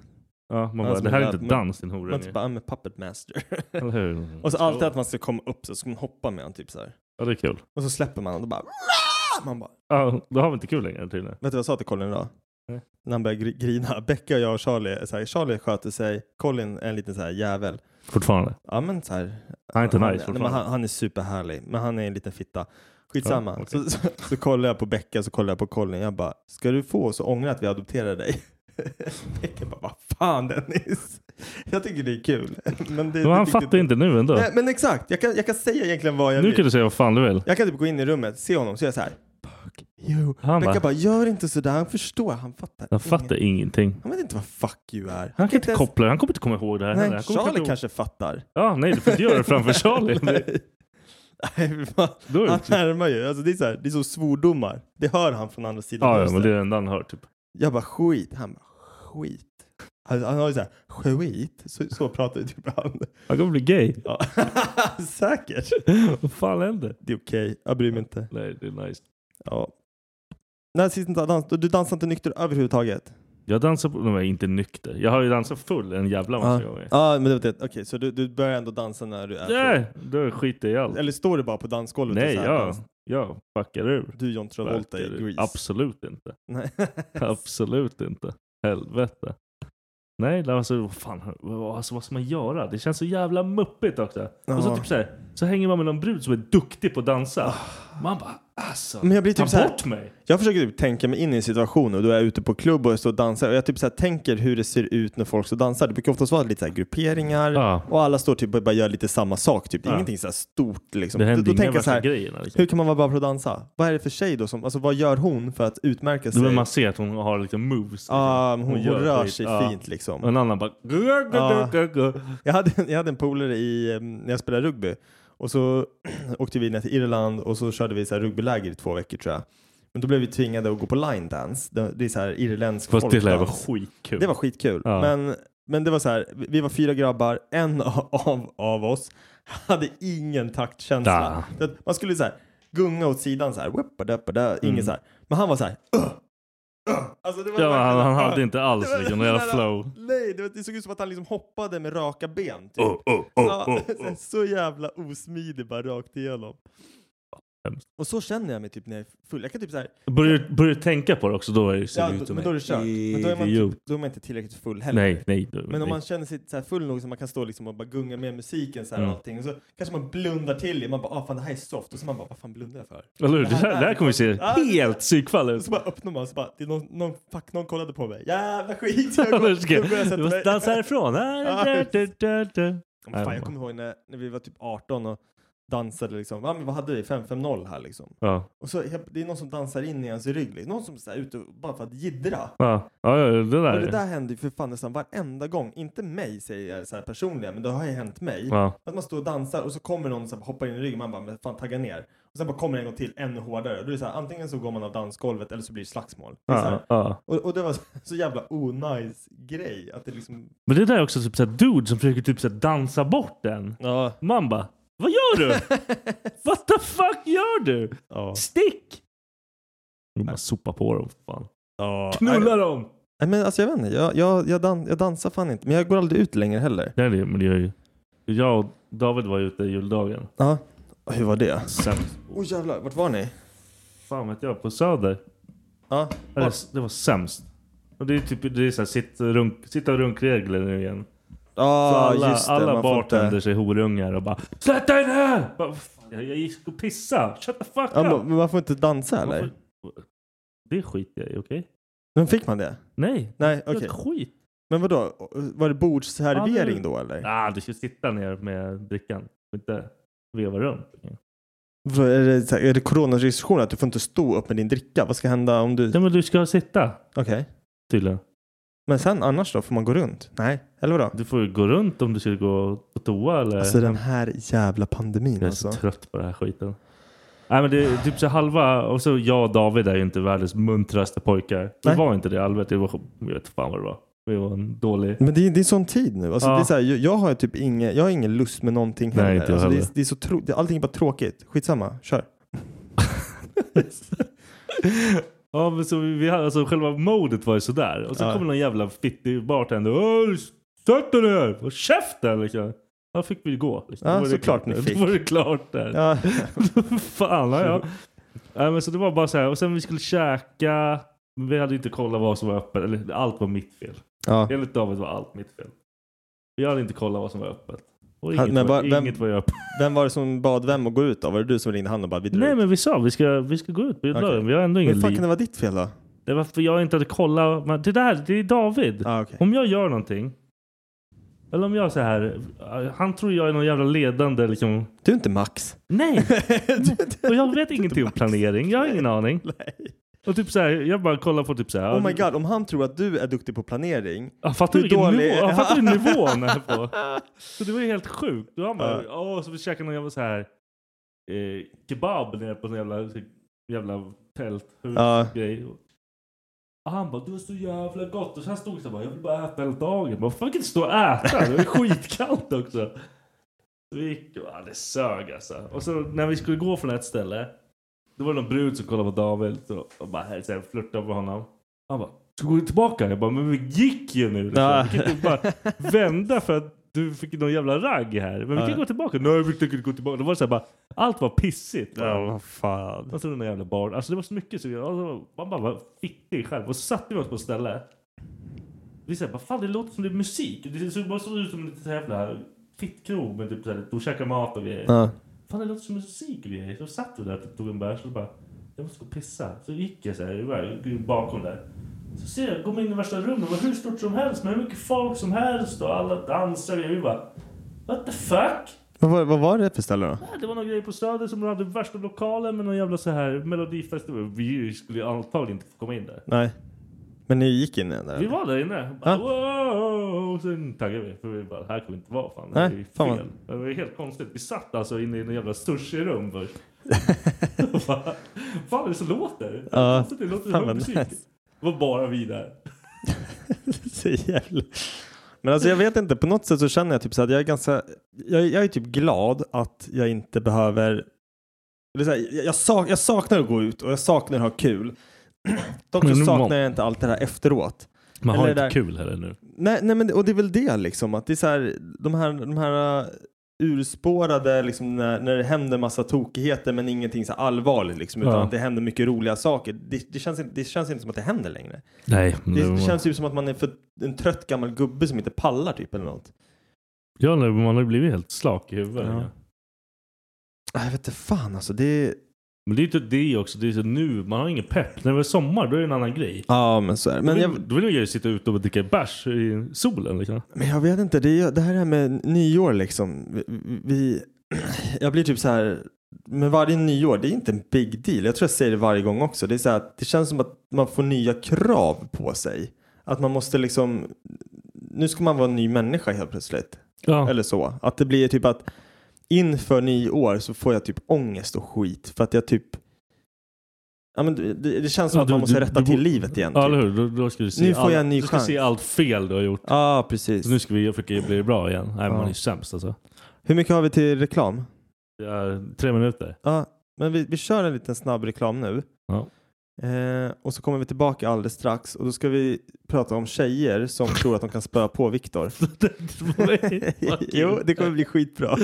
Speaker 1: Ja, man
Speaker 4: Ja,
Speaker 1: bara,
Speaker 4: som
Speaker 1: det här
Speaker 4: en
Speaker 1: är inte
Speaker 4: lär-
Speaker 1: dans din hora.
Speaker 4: Man typ
Speaker 1: ni.
Speaker 4: bara, I'm a puppet master.
Speaker 1: Eller hur?
Speaker 4: och så alltid att man ska komma upp så ska man hoppa med honom typ så här.
Speaker 1: Ja, det är kul.
Speaker 4: Och så släpper man honom och då bara Man bara,
Speaker 1: Ja, då har vi inte kul längre tydligen.
Speaker 4: vet du vad jag sa till Colin idag?
Speaker 1: Nej.
Speaker 4: När han började gri- grina. Becka och jag och Charlie, är så här, Charlie sköter sig, Colin är en liten så här jävel.
Speaker 1: Fortfarande.
Speaker 4: Ja men så här,
Speaker 1: Han är inte nice
Speaker 4: nej, men
Speaker 1: fortfarande.
Speaker 4: han, han är superhärlig, men han är en liten fitta. Skitsamma.
Speaker 1: Ja, okej.
Speaker 4: så, så, så kollar jag på Becka, så kollar jag på Colin. Jag bara, ska du få oss att ångra att vi adopterade dig? Becka bara, vad fan Dennis? Jag tycker det är kul. Men, det,
Speaker 1: Men
Speaker 4: det
Speaker 1: han
Speaker 4: tyckte
Speaker 1: fattar inte nu ändå.
Speaker 4: Nej, men exakt, jag kan, jag kan säga egentligen vad jag
Speaker 1: Nu
Speaker 4: vill.
Speaker 1: kan du säga vad fan du vill.
Speaker 4: Jag kan typ gå in i rummet, se honom, så är jag så här, fuck you.
Speaker 1: Han
Speaker 4: Becka
Speaker 1: bara,
Speaker 4: bara, gör inte sådär. Han förstår, han fattar.
Speaker 1: jag fattar
Speaker 4: inget.
Speaker 1: ingenting.
Speaker 4: Han vet inte vad fuck you är.
Speaker 1: Han kan inte
Speaker 4: ens-
Speaker 1: koppla, han kommer inte komma ihåg det här heller.
Speaker 4: Nej,
Speaker 1: Han kommer
Speaker 4: Charlie
Speaker 1: ihåg-
Speaker 4: kanske fattar.
Speaker 1: Ja, nej, du får inte göra det framför Charlie. Det-
Speaker 4: Nej. Nej, fy fan.
Speaker 1: Då är
Speaker 4: Han
Speaker 1: det
Speaker 4: härmar ju. Alltså, det, är så här, det är så svordomar. Det hör han från andra sidan
Speaker 1: Ja, ja,
Speaker 4: huset.
Speaker 1: men det är det enda han hör typ.
Speaker 4: Jag bara skit. Han bara skit. Han, han har ju så här skit. Så, så pratar ju typ han.
Speaker 1: Han kommer bli gay.
Speaker 4: Ja. Säkert.
Speaker 1: Vad fan händer?
Speaker 4: Det är okej. Jag bryr mig inte.
Speaker 1: Nej, det är nice.
Speaker 4: Ja. Nej, sist inte dans, du dansar inte nykter överhuvudtaget?
Speaker 1: Jag dansar på... Nej, inte nykter. Jag har ju dansat full en jävla
Speaker 4: Ja,
Speaker 1: massa gånger.
Speaker 4: Ja, men det var det. Okej, så du, du börjar ändå dansa när du är full.
Speaker 1: Nej, då skiter jag i allt.
Speaker 4: Eller står du bara på dansgolvet och
Speaker 1: Nej,
Speaker 4: så här
Speaker 1: jag,
Speaker 4: dans-
Speaker 1: jag fuckar ur.
Speaker 4: Du John Travolta i
Speaker 1: Fuckar ur.
Speaker 4: Grease.
Speaker 1: Absolut inte.
Speaker 4: Nej.
Speaker 1: Absolut inte. Helvete. Nej, alltså vad fan, vad- alltså, vad ska man göra? Det känns så jävla muppigt också. Och så,
Speaker 4: Ja.
Speaker 1: typ så, här, så hänger man med någon brud som är duktig på att dansa. Man bara, alltså,
Speaker 4: Ah. Men jag blir
Speaker 1: ta
Speaker 4: typ så här-
Speaker 1: bort mig!
Speaker 4: Jag försöker typ tänka mig in i en situation och då är jag ute på klubb och jag står och dansar och jag typ så här tänker hur det ser ut när folk står och dansar. Det brukar oftast vara lite så här grupperingar
Speaker 1: Ja.
Speaker 4: och alla står typ och bara gör lite samma sak. Typ. Det är
Speaker 1: Ja.
Speaker 4: ingenting så här stort liksom.
Speaker 1: Det händer
Speaker 4: då
Speaker 1: inga
Speaker 4: tänker jag så
Speaker 1: värsta
Speaker 4: här,
Speaker 1: grejerna. Liksom.
Speaker 4: hur kan man vara bra på att dansa? Vad är det för tjej då? Som, alltså, vad gör hon för att utmärka sig?
Speaker 1: Då vill man se att hon har liksom moves. Liksom.
Speaker 4: Ah, hon, hon
Speaker 1: gör
Speaker 4: rör
Speaker 1: skit.
Speaker 4: sig
Speaker 1: Ja.
Speaker 4: fint liksom.
Speaker 1: Och en annan bara... Gur,
Speaker 4: Ja.
Speaker 1: gur, gur, gur, gur.
Speaker 4: Jag hade, jag hade en polare i, eh, när jag spelade rugby och så åkte vi ner till Irland och så körde vi så här rugbyläger i två veckor tror jag. Men då blev vi tvingade att gå på line dance. Det, det är så här irländsk
Speaker 1: Fast det lär vara
Speaker 4: folkdans.
Speaker 1: skitkul.
Speaker 4: Det var skitkul.
Speaker 1: Ja.
Speaker 4: Men, men det var så här, vi- vi var fyra grabbar, en av, av, av oss hade ingen taktkänsla.
Speaker 1: Da.
Speaker 4: Så att Man skulle så här gunga åt sidan så här, weppadeppada, ingen så här. Men han var så här, "Ugh, ugh." Alltså, det var
Speaker 1: Mm. ja,
Speaker 4: verkligen
Speaker 1: han,
Speaker 4: så här,
Speaker 1: han
Speaker 4: "Ugh."
Speaker 1: hade inte alls
Speaker 4: Det var-
Speaker 1: liksom någon jävla flow.
Speaker 4: Nej, det, var, det såg ut som att han liksom hoppade med raka ben. Typ.
Speaker 1: Oh, oh,
Speaker 4: Ja,
Speaker 1: oh, oh, oh.
Speaker 4: Så jävla osmidig bara rakt igenom.
Speaker 1: Hemskt.
Speaker 4: Och så känner jag mig typ när jag är full. Jag kan typ så här,
Speaker 1: Börjar, du- börjar du tänka på det också, då är det, ser
Speaker 4: ja,
Speaker 1: det ut
Speaker 4: då,
Speaker 1: som
Speaker 4: men
Speaker 1: en
Speaker 4: då är det kört. Men då är, man
Speaker 1: idiot.
Speaker 4: typ, då är man inte tillräckligt full heller.
Speaker 1: Nej, nej. då-
Speaker 4: Men om
Speaker 1: nej.
Speaker 4: man känner sig så här full nog så man kan stå liksom och bara gunga med musiken så här
Speaker 1: Mm.
Speaker 4: och allting. Och så kanske man blundar till i. Man bara ah fan det här är soft. Och så man bara vad fan blundar jag för?
Speaker 1: Eller hur? Det
Speaker 4: Det här
Speaker 1: här, det här kommer se
Speaker 4: Ja.
Speaker 1: helt psykfall
Speaker 4: Och
Speaker 1: ut.
Speaker 4: så bara öppnar man och så bara det är någon, någon, fuck någon kollade på mig. Jävla skit. Jag går,
Speaker 1: Eller
Speaker 4: då går jag och
Speaker 1: ska-
Speaker 4: sätter
Speaker 1: Du
Speaker 4: mig.
Speaker 1: måste dansa härifrån.
Speaker 4: Ja.
Speaker 1: Ah, da, da, da.
Speaker 4: Men fan jag kommer ihåg när, när vi var typ 18 och dansade liksom. Ja men vad hade vi? 5-5-0 här liksom.
Speaker 1: Ja,
Speaker 4: Och så helt- det är någon som dansar in i ens rygg. liksom. Någon som är ute och- bara för att jiddra.
Speaker 1: ja, ja, ja, det
Speaker 4: Och det
Speaker 1: där.
Speaker 4: där händer ju för fan nästan varenda gång. Inte mig säger jag så här personligen, men det har ju hänt mig.
Speaker 1: Ja.
Speaker 4: Att man står och dansar och så kommer någon som hoppar in i ryggen. Man bara, men fan tagga ner. Och sen bara kommer det en gång till ännu hårdare. Och då är det så här, antingen så går man av dansgolvet eller så blir det slagsmål. Det är så
Speaker 1: Ja,
Speaker 4: här,
Speaker 1: ja.
Speaker 4: och, och det var så jävla onajs grej. Att det liksom...
Speaker 1: Men det där är också typ såhär dude som försöker typ såhär dansa bort den.
Speaker 4: Ja.
Speaker 1: Man bara, vad gör du? What the fuck gör du?
Speaker 4: Ja.
Speaker 1: Stick! Vill man sopa på dem för fan.
Speaker 4: ja.
Speaker 1: Knulla dem!
Speaker 4: Nej, men alltså jag vet inte. Jag, jag, jag, dan- jag dansar fan inte. Men jag går aldrig ut längre heller.
Speaker 1: Nej, det, men det gör ju. Jag och David var ute juldagen.
Speaker 4: Ja. Och Hur var det?
Speaker 1: Sämst.
Speaker 4: Åh oh, jävlar, vart var ni?
Speaker 1: fan vet jag, på Söder.
Speaker 4: Ja.
Speaker 1: Det, var- det var sämst. Och det är typ det är så här, sitt, runk, sitta och runkregler nu igen. Så
Speaker 4: Ah,
Speaker 1: alla
Speaker 4: just det,
Speaker 1: alla
Speaker 4: man får
Speaker 1: bartenders
Speaker 4: inte-
Speaker 1: är horungar och bara Släpp dig ner! Bara, "Fan, Jag, jag gick och pissade. Shut the fuck
Speaker 4: Ja,
Speaker 1: up!
Speaker 4: men men man får inte dansa eller?
Speaker 1: Varför- Det skiter jag i, okej?
Speaker 4: Men fick man det?
Speaker 1: Nej.
Speaker 4: Nej,
Speaker 1: det är
Speaker 4: okej.
Speaker 1: Skit.
Speaker 4: Men vadå? Var det bordsservering
Speaker 1: Ja, det-
Speaker 4: då eller?
Speaker 1: Ah, du ska sitta ner med drickan. Du får Inte veva runt.
Speaker 4: För Är det, så här- är det coronarestriktioner att du får inte stå upp med din dricka? Vad ska hända om du...
Speaker 1: Nej, men du ska sitta
Speaker 4: Okej.
Speaker 1: tydligen.
Speaker 4: Men sen annars då? Får man gå runt? Nej, eller vadå?
Speaker 1: Du får ju gå runt om du ska gå på toa eller...
Speaker 4: Alltså den här jävla pandemin
Speaker 1: Jag är så
Speaker 4: alltså.
Speaker 1: trött på den här skiten. Nej men det är typ så halva... Och så jag och David är ju inte världens muntraste pojkar. Det
Speaker 4: Nej.
Speaker 1: var inte det Albert. Det var, jag vet fan vad det var. Vi var en dålig...
Speaker 4: Men det är, det är sån tid nu. Alltså,
Speaker 1: Ja.
Speaker 4: det är så här, jag, jag har typ ingen, jag har ingen lust med någonting
Speaker 1: Nej,
Speaker 4: heller.
Speaker 1: inte jag
Speaker 4: alltså, det, är,
Speaker 1: heller.
Speaker 4: det är så tro, det, allting är bara tråkigt. Skitsamma, kör.
Speaker 1: Ja men så vi, vi hade, alltså själva modet var ju sådär. Och sen
Speaker 4: Ja.
Speaker 1: kom någon jävla fittig bartender. Åh, Sätt dig ner! Håll käften liksom. Då fick vi gå. Liksom.
Speaker 4: Ja,
Speaker 1: Då var det
Speaker 4: såklart ni
Speaker 1: klart där.
Speaker 4: fick.
Speaker 1: Då var det klart där.
Speaker 4: Ja.
Speaker 1: Fan, ja. ja. Nej, men så det var bara så här. Och sen vi skulle käka. Men vi hade inte kollat vad som var öppet. Eller allt var mitt fel.
Speaker 4: ja.
Speaker 1: Enligt David var allt mitt fel. Vi hade inte kollat vad som var öppet. Och
Speaker 4: Han-
Speaker 1: inget,
Speaker 4: men
Speaker 1: var,
Speaker 4: vad- vem-
Speaker 1: inget var ju öppet.
Speaker 4: Vem var det som bad vem att gå ut då? Var det du som ringde han och bara vi drar
Speaker 1: Nej
Speaker 4: ut?
Speaker 1: men vi sa vi ska, vi ska gå ut på okay.
Speaker 4: Okej.
Speaker 1: Vi har ändå
Speaker 4: Hur
Speaker 1: ingen
Speaker 4: fan
Speaker 1: liv.
Speaker 4: kan det vara ditt fel då?
Speaker 1: Det var för jag inte hade kollat. Men det där, det är David.
Speaker 4: Ah, okej.
Speaker 1: Om jag gör någonting. Eller om jag så här. Han tror jag är någon jävla ledande liksom.
Speaker 4: Du är inte Max.
Speaker 1: Nej!
Speaker 4: Du-
Speaker 1: Och jag vet ingenting om
Speaker 4: Max.
Speaker 1: planering. Jag har ingen aning.
Speaker 4: Nej.
Speaker 1: Och typ så här, jag bara kollar på typ så här.
Speaker 4: Oh my god, om han tror att du är duktig på planering.
Speaker 1: Ja, fattar du
Speaker 4: Hur
Speaker 1: vilken
Speaker 4: dålig-
Speaker 1: nivå? Ja, fattar du nivån här på? Så det var ju helt sjukt. Då han bara,
Speaker 4: Ja.
Speaker 1: åh, så vi käkade någon jävla så här eh, kebab nere på en jävla, jävla tält.
Speaker 4: Ja.
Speaker 1: Grej. Och han bara, du är så jävla gott. Och sen stod jag så här bara, jag vill bara äta hela dagen. Jag Bara, fan, jag kan inte stå och äta. Det är skitkallt också. Så vi gick och, ja, det sög alltså. Och så när vi skulle gå från ett ställe. Då var det någon brud som kollade på David så- och bara här, så här, flörtade med honom. Han bara, ska vi gå tillbaka? Jag bara, men vi gick ju nu. Liksom.
Speaker 4: Ja.
Speaker 1: Vi kan inte bara vända för att du fick någon jävla ragg här. Men vi
Speaker 4: Ja.
Speaker 1: kan gå tillbaka. Nej, vi tänker inte gå tillbaka. Det var så här bara, allt var pissigt. bara.
Speaker 4: Ja, vad fan.
Speaker 1: Och så den där jävla barn. Alltså det var så mycket så vi, alltså, man bara var fittig själv. Och så satte vi oss på ett ställe. Vi sa bara, fan det låter som det är musik. Det såg bara så ut som en liten så här jävla fittkrog med typ såhär, och käkade mat och grejer.
Speaker 4: Ja.
Speaker 1: Fan det låter som musik och grejer. Så satt vi där och tog en bärs och bara, jag måste gå och pissa. Så gick jag såhär iväg, gick bakom där. Så ser jag, kom in i värsta rummet, det var hur stort som helst med hur mycket folk som helst och alla dansar och vi bara, what the fuck?
Speaker 4: Vad, var, vad var det för ställe då?
Speaker 1: Ja, Det var någon grej på Söder som de hade värsta lokalen med någon jävla så här melodifestival. Vi skulle ju antagligen inte få komma in där.
Speaker 4: Nej. Men ni gick in där?
Speaker 1: Vi
Speaker 4: eller?
Speaker 1: var där inne. Bara,
Speaker 4: Ja.
Speaker 1: wow! Och sen taggade vi. För vi bara, här kommer inte vara fan.
Speaker 4: Nej,
Speaker 1: det är ju
Speaker 4: fan vad-
Speaker 1: fel. Det var ju helt konstigt. Vi satt alltså inne i någon jävla sushi-rum först. Och bara, fan är det som låter?
Speaker 4: Ja,
Speaker 1: Konstigt, det låter
Speaker 4: fan
Speaker 1: som
Speaker 4: vad
Speaker 1: musik.
Speaker 4: nice.
Speaker 1: Det var bara vi där.
Speaker 4: Så jävla- Men alltså jag vet inte, på något sätt så känner jag typ så här att jag är ganska, jag, jag är typ glad att jag inte behöver, eller så här, jag, jag, sak, jag saknar att gå ut och jag saknar att ha kul. Dock så
Speaker 1: Men nu-
Speaker 4: saknar jag inte allt det här efteråt.
Speaker 1: Man
Speaker 4: har Eller inte där-
Speaker 1: kul heller nu.
Speaker 4: Nej, nej men det- och det är väl det liksom, att det är så här, de här, de här uh, urspårade, liksom när, när det händer massa tokigheter men ingenting så här allvarligt liksom, utan
Speaker 1: Ja.
Speaker 4: att det händer mycket roliga saker. Det, det, känns, inte- det känns inte som att det händer längre.
Speaker 1: Nej.
Speaker 4: Det, det känns ju som att man är för, en trött gammal gubbe som inte pallar typ eller något.
Speaker 1: ja, man har blivit helt slak i huvudet.
Speaker 4: Ja. Nej, Jag vet inte fan alltså. Det...
Speaker 1: Men det är ju inte det också. Det är så nu, man har ingen pepp. När det är sommar då är det en annan grej.
Speaker 4: Ja, men så är det.
Speaker 1: Men
Speaker 4: Men jag,
Speaker 1: då vill jag ju sitta ute och dricka bärs i solen. Liksom.
Speaker 4: men jag vet inte. Det, är, det här med nyår liksom. Vi, vi, jag blir typ så här. Med varje nyår, det är inte en big deal. Jag tror jag säger det varje gång också. Det, är så här, att det känns som att man får nya krav på sig. Att man måste liksom. Nu ska man vara en ny människa helt plötsligt.
Speaker 1: Ja.
Speaker 4: Eller så. Att det blir typ att inför nyår så får jag typ ångest och skit för att jag typ Ja, men det, det det känns som
Speaker 1: Ja,
Speaker 4: att
Speaker 1: du-
Speaker 4: man måste
Speaker 1: du-
Speaker 4: rätta
Speaker 1: du
Speaker 4: till
Speaker 1: bo-
Speaker 4: livet igen.
Speaker 1: ja,
Speaker 4: typ.
Speaker 1: eller hur? Då, då ska du se
Speaker 4: Nu får
Speaker 1: all-
Speaker 4: jag en ny
Speaker 1: Du ska se
Speaker 4: chans.
Speaker 1: allt fel du har gjort.
Speaker 4: Ja, precis.
Speaker 1: Så nu ska vi försöka bli bra igen. Nej,
Speaker 4: Ja.
Speaker 1: man är ju sämst alltså.
Speaker 4: Hur mycket har vi till reklam?
Speaker 1: Det är tre minuter.
Speaker 4: Ja, men vi, vi kör en liten snabb reklam nu.
Speaker 1: Ja.
Speaker 4: Eh, och så kommer vi tillbaka alldeles strax och då ska vi prata om tjejer som tror att de kan spöa på Viktor. jo, det kommer bli skitbra.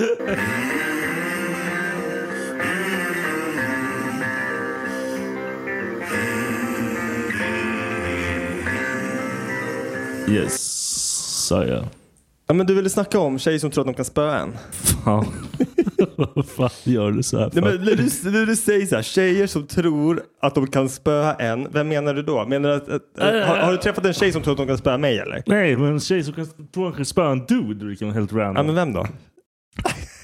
Speaker 1: Yes, sa jag.
Speaker 4: Ja, men du ville snacka om tjejer som tror att de kan spöa en.
Speaker 1: Fan. Vad fan gör du så här för?
Speaker 4: Nej, men när, du, när du säger så här, tjejer som tror att de kan spöa en, vem menar du då? Menar du att, att, har, har du träffat en tjej som tror att de kan spöa mig eller?
Speaker 1: Nej, men en tjej som kan, tror hon kan spöa en dude vilket är liksom helt
Speaker 4: Ja,
Speaker 1: random.
Speaker 4: men vem då?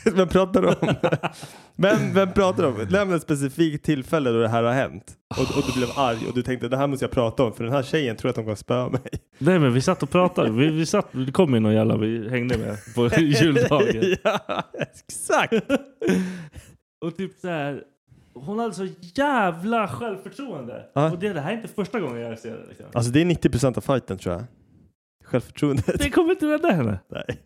Speaker 4: vem pratar du om? vem, vem pratar du om? Nämn ett specifikt tillfälle då det här har hänt. Och, och du blev arg och du tänkte det här måste jag prata om för den här tjejen tror att de kan spöa mig.
Speaker 1: Nej, men vi satt och pratade. Vi, vi satt, det kom ju någon jävla vi hängde med på juldagen.
Speaker 4: ja, exakt.
Speaker 1: Och typ så här. Hon hade så jävla självförtroende.
Speaker 4: Ja.
Speaker 1: Och det, det här är inte första gången jag ser det. Liksom.
Speaker 4: Alltså det är 90% av fighten tror jag. Självförtroendet.
Speaker 1: Det kommer inte rädda henne.
Speaker 4: Nej.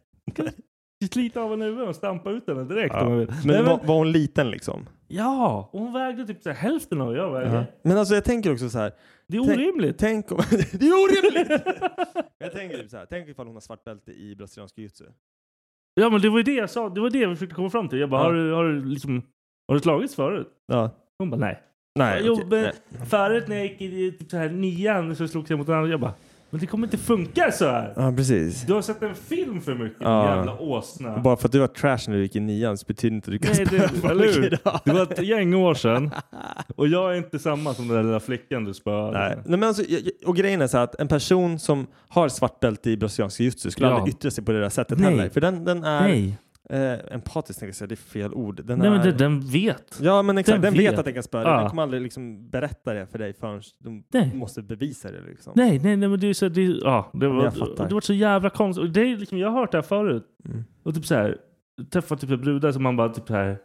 Speaker 1: Slita av henne i huvudet och stampa ut henne direkt
Speaker 4: Ja.
Speaker 1: om man vill.
Speaker 4: Men,
Speaker 1: Nej,
Speaker 4: Var, var hon liten liksom?
Speaker 1: Ja, och hon vägde typ så här, hälften av vad jag vägde.
Speaker 4: Men alltså jag tänker också så här.
Speaker 1: Det är orimligt.
Speaker 4: Tänk om... det är orimligt! jag tänker typ så här. Tänk ifall hon har svart bälte i brasiliansk jiu-jitsu.
Speaker 1: Ja, men det var ju det jag sa. Det var det vi försökte komma fram till. Jag bara,
Speaker 4: Ja.
Speaker 1: har, du, har, du liksom, har du slagits förut?
Speaker 4: Ja.
Speaker 1: Hon bara, nej.
Speaker 4: Nej,
Speaker 1: jo,
Speaker 4: okej.
Speaker 1: men
Speaker 4: Nej.
Speaker 1: förut när jag gick i typ så här, nian så slogs jag mot en annan. Jag bara, men det kommer inte funka så här.
Speaker 4: Ja, precis.
Speaker 1: Du har sett en film för mycket, din
Speaker 4: Ja.
Speaker 1: jävla åsna.
Speaker 4: Bara för att du var trash när du gick i nian så betyder inte att du kan
Speaker 1: Nej,
Speaker 4: spöa
Speaker 1: det,
Speaker 4: folk
Speaker 1: eller hur?
Speaker 4: idag.
Speaker 1: Det var ett gäng år sedan. Och jag är inte samma som den där lilla flickan du spöade.
Speaker 4: Nej. Nej, men alltså, jag- jag- och grejen är så här att en person som har svart bälte i brasiliansk jiu-jitsu skulle
Speaker 1: Ja.
Speaker 4: aldrig yttra sig på det där sättet
Speaker 1: Nej.
Speaker 4: heller. För den, den är...
Speaker 1: Nej,
Speaker 4: Eh, empatisk tänkte jag säga, det är fel ord. Den
Speaker 1: Nej
Speaker 4: är,
Speaker 1: men det, den vet.
Speaker 4: Ja men exakt,
Speaker 1: den
Speaker 4: den, vet.
Speaker 1: vet.
Speaker 4: att den kan spöa dig.
Speaker 1: Ja.
Speaker 4: Den kommer aldrig liksom berätta det för dig förrän de
Speaker 1: Nej.
Speaker 4: måste bevisa det. Liksom.
Speaker 1: Nej, nej, nej men det är så... Det, är- ja, det, var,
Speaker 4: jag fattar.
Speaker 1: det var så jävla konstigt. Och det är liksom, jag har hört det här förut.
Speaker 4: Mm.
Speaker 1: Och typ så här, träffat typ en brudar som man bara typ så här...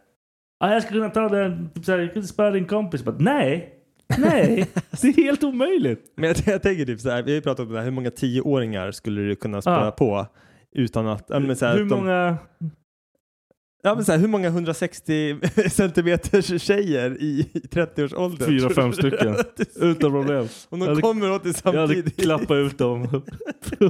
Speaker 1: Ja, jag skulle kunna ta den, typ så här, jag kunde spöa din kompis. Bara, nej, nej, det är helt omöjligt.
Speaker 4: Men jag, jag tänker typ så här, vi har ju pratat om det här, hur många tioåringar skulle du kunna spöa
Speaker 1: Ja.
Speaker 4: på? Utan att, ja, men så här,
Speaker 1: Hur
Speaker 4: att de-
Speaker 1: många...
Speaker 4: Ja, men så här, hur många 160 centimeters tjejer i 30-årsåldern?
Speaker 1: Fyra, fem stycken. Utan problem.
Speaker 4: Om de
Speaker 1: Jag hade-
Speaker 4: kommer åt dig
Speaker 1: Jag hade
Speaker 4: samtidigt.
Speaker 1: klappat ut dem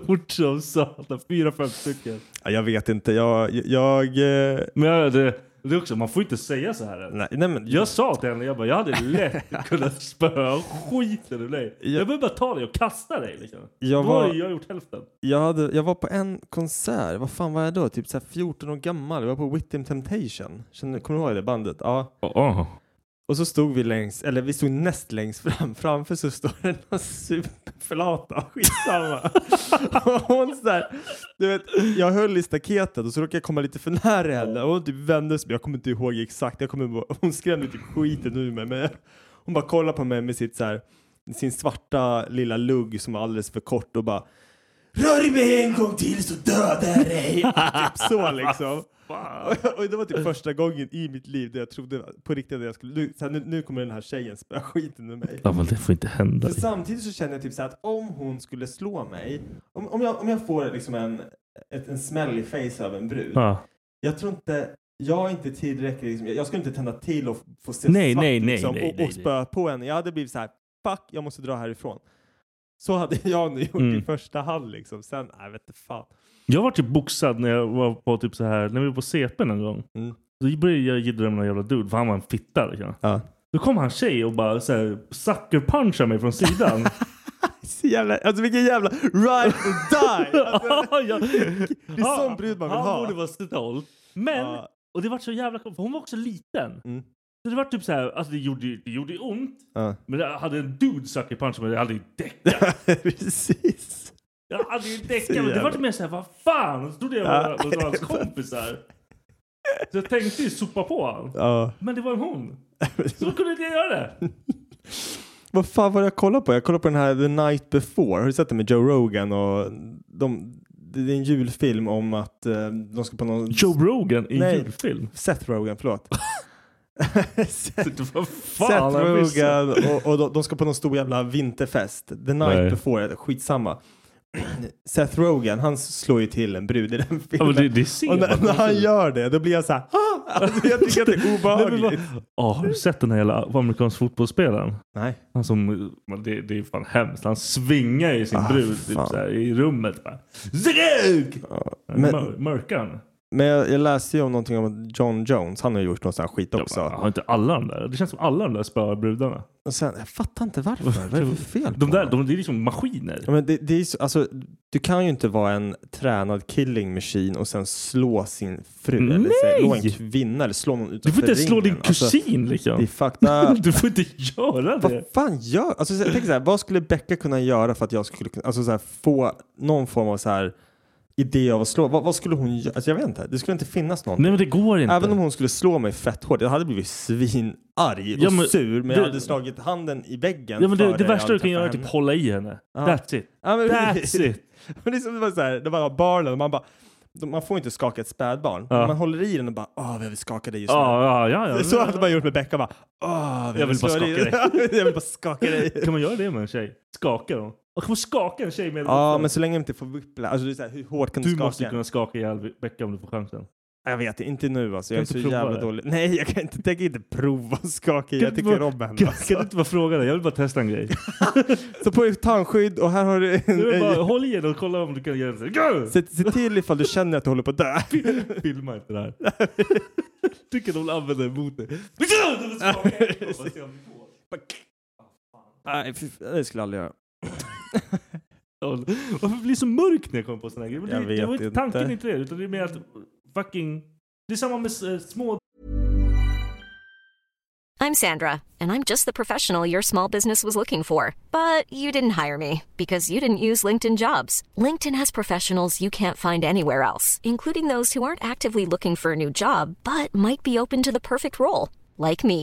Speaker 1: fort som satan. Fyra, fem stycken.
Speaker 4: Ja, jag vet inte. Jag... jag eh,
Speaker 1: Men jag, det, det är också, man får inte säga så här. än.
Speaker 4: nej, nej, men
Speaker 1: Jag sa till henne, jag bara, jag hade lätt kunnat spöa skiten ur dig. Jag behöver bara ta dig och kasta dig. Liksom.
Speaker 4: Jag
Speaker 1: Då har
Speaker 4: var-
Speaker 1: ju jag gjort hälften.
Speaker 4: Jag, hade, jag var på en konsert, vad fan var jag då? Typ så här 14 år gammal. Jag var på Whittem Temptation. Känner, kommer du ihåg det bandet? Ja. Och så stod vi längst, eller vi stod näst längst fram. Framför så står det någon superflata. Skitsamma. och hon så här, du vet, jag höll i staketet och så råkade jag komma lite för nära henne. Och hon typ vände sig, jag kommer inte ihåg exakt. Jag kommer bara, hon skrämde typ skiten ur mig. Men jag, hon bara kollade på mig med sitt så här, sin svarta lilla lugg som var alldeles för kort och bara Rör dig mig en gång till så dödar jag dig! typ så liksom. Och- Och det var typ första gången i mitt liv där jag trodde på riktigt att jag skulle, nu, så här, nu, nu kommer den här tjejen spöa skiten ur mig.
Speaker 1: Ja men det får inte hända.
Speaker 4: För samtidigt så känner jag typ så här att om hon skulle slå mig, om, om, jag, om jag får liksom en, ett, en smäll i face av en brud,
Speaker 1: Ja.
Speaker 4: jag tror inte, jag är inte tillräckligt, liksom, jag, jag skulle inte tända till och få se
Speaker 1: Nej,
Speaker 4: svart
Speaker 1: nej, nej,
Speaker 4: liksom,
Speaker 1: nej,
Speaker 4: och,
Speaker 1: nej,
Speaker 4: och spöa på henne. Jag hade blivit så här, fuck, jag måste dra härifrån. Så hade jag nu gjort i
Speaker 1: Mm.
Speaker 4: första hand liksom. Sen, nej vet inte fan.
Speaker 1: Jag var typ boxad när jag var på typ så här, när vi var på CP'n en gång.
Speaker 4: Mm.
Speaker 1: Då började jag jiddra med någon jävla dude för han var en fitta. Liksom.
Speaker 4: Ja.
Speaker 1: Då kom han tjej och bara så här, sucker punchade mig från sidan.
Speaker 4: Så jävla, alltså vilken jävla ride or die! Alltså,
Speaker 1: Ja, jag-
Speaker 4: det är sån brud man vill
Speaker 1: han
Speaker 4: ha.
Speaker 1: borde vara stolt. Men,
Speaker 4: Ja.
Speaker 1: och det var så jävla för hon var också liten.
Speaker 4: Mm.
Speaker 1: Så det var typ så här, alltså det gjorde, ju- det gjorde ju ont.
Speaker 4: Ja.
Speaker 1: Men jag hade en dude sucker punch men jag hade ju däckat.
Speaker 4: Precis.
Speaker 1: Jag hade ju
Speaker 4: Så
Speaker 1: däckat men det
Speaker 4: jävla-
Speaker 1: var mer såhär, vad fan? Och Så trodde jag var,
Speaker 4: Ja.
Speaker 1: var hans kompisar. Så jag tänkte ju sopa på honom.
Speaker 4: Ja.
Speaker 1: Men det var ju hon. Så då kunde inte jag göra det.
Speaker 4: Vad fan var det jag kollade på? Jag kollade på den här The Night Before. Har du sett den med Joe Rogan? Och de, det är en julfilm om att eh, de ska på någon...
Speaker 1: Joe Rogan i
Speaker 4: Nej.
Speaker 1: en julfilm.
Speaker 4: Seth Rogan, förlåt. Seth,
Speaker 1: Vad fan
Speaker 4: Seth
Speaker 1: har jag missat?
Speaker 4: Rogan och, och de, de ska på någon stor jävla vinterfest. The Night
Speaker 1: Nej.
Speaker 4: Before, skitsamma. Seth Rogan, han slår ju till en brud i den filmen.
Speaker 1: Ja, men det, det ser
Speaker 4: Och när, när han
Speaker 1: man.
Speaker 4: gör det, då blir jag så här... "Ah!" Alltså, jag tycker att det är
Speaker 1: Nej, men vad-
Speaker 4: obehagligt.
Speaker 1: Ja, har du sett den här jävla amerikanska fotbollsspelaren?
Speaker 4: Nej.
Speaker 1: Han som, men det, det är fan hemskt. Han svingar ju sin
Speaker 4: Ah,
Speaker 1: brud typ
Speaker 4: fan.
Speaker 1: såhär, i rummet. Bara, Zrug!
Speaker 4: Ja,
Speaker 1: Men,
Speaker 4: Men,
Speaker 1: mörkan.
Speaker 4: Men jag, jag läste ju om någonting om att John Jones, han har ju gjort någon sån här skit också.
Speaker 1: Jag bara, har inte alla de där? Det känns som alla de där spöar brudarna.
Speaker 4: Och sen, jag fattar inte varför. Vad är det för fel
Speaker 1: De
Speaker 4: på
Speaker 1: där,
Speaker 4: honom?
Speaker 1: de, det är liksom maskiner.
Speaker 4: Ja, men det, det är så, alltså, du kan ju inte vara en tränad killing machine och sen slå sin fru eller
Speaker 1: Nej!
Speaker 4: slå en kvinna eller slå
Speaker 1: Du
Speaker 4: någon
Speaker 1: får
Speaker 4: utanför
Speaker 1: inte ens slå din
Speaker 4: ringen. Alltså,
Speaker 1: kusin liksom.
Speaker 4: det är fucked up.
Speaker 1: Du får inte göra
Speaker 4: Vad
Speaker 1: det.
Speaker 4: fan gör... Alltså, så- jag tänker så här, vad skulle Becka kunna göra för att jag skulle kunna alltså, så här, få någon form av så här, idé av att slå? Vad, vad skulle hon göra? Alltså, jag vet inte. Det skulle inte finnas någon.
Speaker 1: Nej men det går inte.
Speaker 4: Även om hon skulle slå mig fett hårt, jag hade blivit svinarg och
Speaker 1: Ja, men
Speaker 4: sur men jag
Speaker 1: det-
Speaker 4: hade slagit handen i väggen.
Speaker 1: ja, men det,
Speaker 4: före
Speaker 1: det
Speaker 4: jag
Speaker 1: värsta
Speaker 4: hade
Speaker 1: du kan göra är
Speaker 4: träffat
Speaker 1: typ
Speaker 4: henne.
Speaker 1: hålla i henne. That's it.
Speaker 4: Ja, men-
Speaker 1: That's it.
Speaker 4: Men det är som det var så här, när man har barnen och man bara, de- man får inte skaka ett spädbarn.
Speaker 1: Ja.
Speaker 4: Men Man håller i den och bara, åh, vi vill skaka dig just nu.
Speaker 1: Ja, ja, ja.
Speaker 4: Det är
Speaker 1: ja.
Speaker 4: Så hade man gjort med Becka bara, åh, vi
Speaker 1: Jag vill bara
Speaker 4: slå dig."
Speaker 1: skaka
Speaker 4: jag vill bara skaka dig.
Speaker 1: Kan man göra det med en tjej? Skaka dem? Och Kan man skaka en tjej med
Speaker 4: Ja, men så länge man inte får whiplash. Alltså, det är så här, hur hårt kan du,
Speaker 1: Du
Speaker 4: skaka?
Speaker 1: måste kunna skaka ihjäl Becka om du får chansen.
Speaker 4: Jag vet inte nu
Speaker 1: Kan
Speaker 4: alltså. Jag är
Speaker 1: inte
Speaker 4: så
Speaker 1: prova
Speaker 4: jävla
Speaker 1: det?
Speaker 4: dålig. Nej, jag kan inte, tänker inte prova att skaka. Jag
Speaker 1: inte
Speaker 4: tycker
Speaker 1: bara-
Speaker 4: om henne.
Speaker 1: Kan,
Speaker 4: alltså.
Speaker 1: kan du inte bara fråga det? Jag vill bara testa en grej.
Speaker 4: Så på ett tandskydd och här har du
Speaker 1: Du vill
Speaker 4: en...
Speaker 1: bara, håll i henne och kolla om du kan göra det. Go!
Speaker 4: Se, se till ifall du känner att du håller på att dö.
Speaker 1: Filma inte det här. Tycker de använder det mot dig. Du kan inte skaka! Och se om du får.
Speaker 4: Nej, fy- det skulle jag aldrig göra.
Speaker 1: Ja, Varför blir det så mörkt när jag kommer på såna här grejer? Men
Speaker 4: Jag
Speaker 1: det, det
Speaker 4: vet
Speaker 1: var inte
Speaker 4: inte.
Speaker 1: tanken inte det, utan det är mer att fucking... Det är samma med eh, små...
Speaker 5: I'm Sandra, and I'm just the professional your small business was looking for. But you didn't hire me because you didn't use LinkedIn jobs. LinkedIn has professionals you can't find anywhere else, including those who aren't actively looking for a new job but might be open to the perfect role, like me.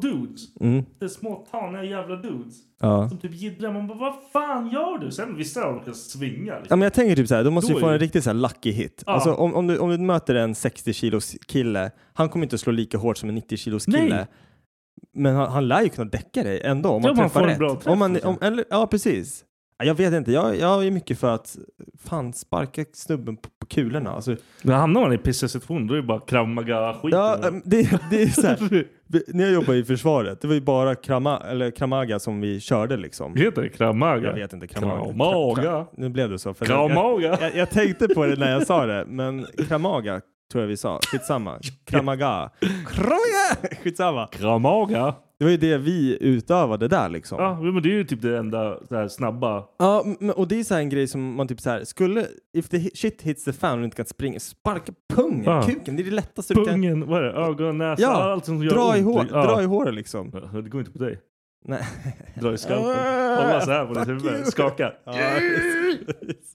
Speaker 1: dudes.
Speaker 4: Mm.
Speaker 1: Det är små taniga jävla dudes.
Speaker 4: Ja.
Speaker 1: Som typ jiddrar. Man bara, vad fan gör du? Sen vissa av dem kan svinga.
Speaker 4: Ja,
Speaker 1: Liksom.
Speaker 4: men jag tänker typ så här, då måste
Speaker 1: Då
Speaker 4: du få
Speaker 1: är
Speaker 4: en
Speaker 1: det-
Speaker 4: riktig så här lucky hit.
Speaker 1: Ja.
Speaker 4: Alltså, om, om, du, om du möter en 60 kilos kille, han kommer inte att slå lika hårt som en 90 kilos kille.
Speaker 1: Nej.
Speaker 4: Men han, han lär ju kunna däcka dig ändå om
Speaker 1: Ja,
Speaker 4: man
Speaker 1: om han
Speaker 4: träffar
Speaker 1: får en
Speaker 4: rätt.
Speaker 1: bra träff,
Speaker 4: om man,
Speaker 1: liksom.
Speaker 4: om, eller, ja, precis. Ja, Jag vet inte, jag, jag är mycket för att fan sparka snubben på, på kulorna. Alltså,
Speaker 1: När hamnar man i pissiga situationer då är det bara kramaga-skiten.
Speaker 4: Ja, ehm, äm, det, det är så här. vi- När jag jobbade i försvaret, det var ju bara krama, eller kramaga som vi körde liksom.
Speaker 1: Heter det kramaga?
Speaker 4: Jag vet inte. Kramaga.
Speaker 1: Kramaga.
Speaker 4: Kra- kra- Nu blev det så. För
Speaker 1: Kramaga.
Speaker 4: Jag, jag, jag tänkte på det när jag sa det, men kramaga tror jag vi sa. Skitsamma. Kramaga. Kramaga! Skitsamma.
Speaker 1: Kramaga?
Speaker 4: Det var ju det vi utövade där liksom.
Speaker 1: Ja, men det är ju typ det enda så här, snabba.
Speaker 4: Ja, men- och det är så här en grej som man typ så här, skulle, if the hi- shit hits the fan och du inte kan springa, sparka pungen,
Speaker 1: Ja.
Speaker 4: kuken, Typ det är det lättaste du kan.
Speaker 1: Pungen, vad är det? Ögon, näsa,
Speaker 4: Ja,
Speaker 1: allt som gör
Speaker 4: Dra i,
Speaker 1: ont.
Speaker 4: hår,
Speaker 1: Ja.
Speaker 4: dra i håret liksom.
Speaker 1: Ja, Det går inte på dig.
Speaker 4: Nej.
Speaker 1: Dra i skalpen. Hålla så här på din huvud. Skaka.
Speaker 4: Ja, precis.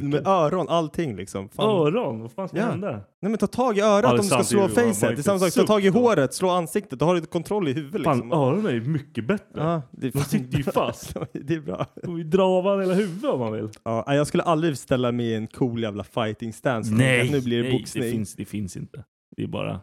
Speaker 4: Med öron, allting liksom. Fan.
Speaker 1: Öron? Vad fan ska
Speaker 4: Ja.
Speaker 1: hända?
Speaker 4: Nej men ta tag i
Speaker 1: Ja,
Speaker 4: örat
Speaker 1: det
Speaker 4: om
Speaker 1: är
Speaker 4: du ska
Speaker 1: sant, det
Speaker 4: slå
Speaker 1: är ju- man- man är
Speaker 4: facet. Det är
Speaker 1: inte
Speaker 4: samma sak, ta tag i
Speaker 1: suck då.
Speaker 4: håret, slå ansiktet, då har du kontroll i huvudet
Speaker 1: Fan,
Speaker 4: liksom.
Speaker 1: öronen är ju mycket bättre.
Speaker 4: Ja, det är
Speaker 1: De
Speaker 4: fan
Speaker 1: sitter ju
Speaker 4: bra.
Speaker 1: fast.
Speaker 4: Det är bra.
Speaker 1: De får ju dra av varandra hela huvudet om man vill.
Speaker 4: Ja, nej, jag skulle aldrig ställa mig i en cool jävla fighting stance. nu blir det boxning.
Speaker 1: det finns, det finns inte. Det är bara...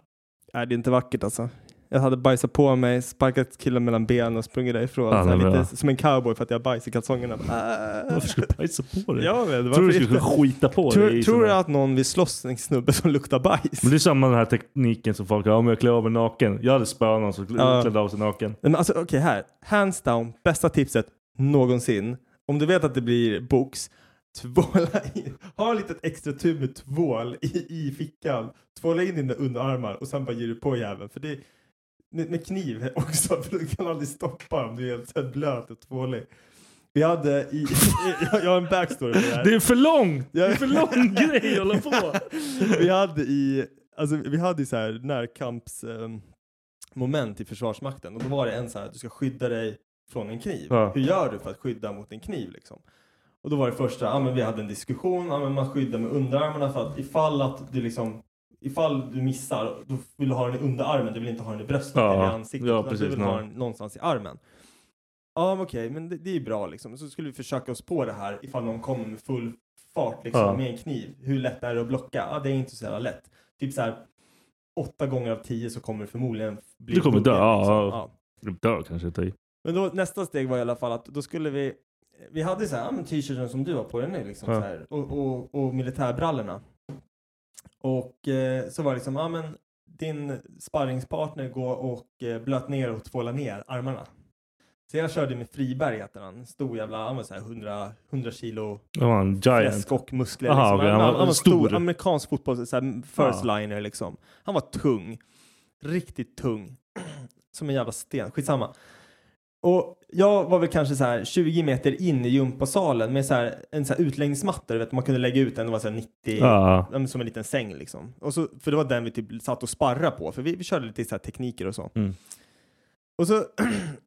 Speaker 4: Nej, det är inte vackert alltså. Jag hade bajsat på mig, sparkat killen mellan benen och sprungit därifrån.
Speaker 1: Fan,
Speaker 4: så här,
Speaker 1: vad bra.
Speaker 4: lite som en cowboy för att jag har bajs i kalsongerna.
Speaker 1: Varför skulle du bajsa på dig?
Speaker 4: Jag vet,
Speaker 1: tror
Speaker 4: varför
Speaker 1: du du skulle
Speaker 4: inte?
Speaker 1: skita på dig?
Speaker 4: Tror,
Speaker 1: i
Speaker 4: tror
Speaker 1: sådana-
Speaker 4: du att någon vill slåss en snubbe som luktar bajs?
Speaker 1: Men det är samma den här tekniken som folk har. Om jag klär av mig naken. Jag hade spöat någon som
Speaker 4: Ja.
Speaker 1: klädde av sig naken.
Speaker 4: Nej, men alltså okej här. Hands down, bästa tipset någonsin. Om du vet att det blir box, tvåla in, ha lite extra tur med tvål i, i fickan. Tvåla in dina underarmar och sen bara ger du på jäveln. För det med, med kniv också, för du kan aldrig stoppa om du är helt så här blöt och tvålig. Vi hade i, jag, jag har en backstory på det här.
Speaker 1: Det är för långt! Det är
Speaker 4: Ja.
Speaker 1: för lång grej att hålla på.
Speaker 4: vi hade i, alltså vi hade i så här närkamps ehm, moment i Försvarsmakten och då var det en så här, du ska skydda dig från en kniv.
Speaker 1: Ja.
Speaker 4: Hur gör du för att skydda mot en kniv liksom? Och då var det första, ja men vi hade en diskussion, ja men man skyddar med underarmarna för att ifall att du liksom Ifall du missar, då vill du ha den i underarmen, du vill inte ha den i bröstet
Speaker 1: Ja,
Speaker 4: eller i ansiktet.
Speaker 1: ja,
Speaker 4: utan
Speaker 1: precis,
Speaker 4: du vill
Speaker 1: ja.
Speaker 4: ha den någonstans i armen. Ja, men okej, men det, det är ju bra liksom. Så skulle vi försöka oss på det här ifall någon kommer med full fart liksom,
Speaker 1: Ja.
Speaker 4: med en kniv. Hur lätt är det att blocka? Ja, det är inte så jävla lätt. Typ så här, åtta gånger av tio så kommer du förmodligen bli
Speaker 1: Du kommer dö,
Speaker 4: blockad,
Speaker 1: ja,
Speaker 4: liksom.
Speaker 1: ja. Dör kanske inte i.
Speaker 4: Men då, nästa steg var i alla fall att då skulle vi Vi hade så här, ja, men t-shirten som du har på dig nu liksom,
Speaker 1: Ja.
Speaker 4: så här, och, och, och militärbrallorna. Och eh, så var det liksom, ja men din sparringspartner går och eh, blöt ner och tvålar ner armarna. Så jag körde med Friberg heter han, stor jävla, han var så här 100, 100 kilo
Speaker 1: Det var en giant.
Speaker 4: och muskler.
Speaker 1: Aha,
Speaker 4: liksom.
Speaker 1: okej,
Speaker 4: han,
Speaker 1: han var
Speaker 4: han, var stor.
Speaker 1: stor.
Speaker 4: amerikansk fotboll, så här, first
Speaker 1: Ja.
Speaker 4: liner liksom. Han var tung. Riktigt tung. Som en jävla sten. Skitsamma. Och jag var väl kanske så här 20 meter in i gympasalen med så här, en så här utläggningsmatta. du Vet, man kunde lägga ut den, det var så här 90,
Speaker 1: Ja.
Speaker 4: ja, men som en liten säng liksom. Och så, för det var den vi typ satt och sparra på, för vi, vi körde lite så här tekniker och så.
Speaker 1: Mm.
Speaker 4: Och så,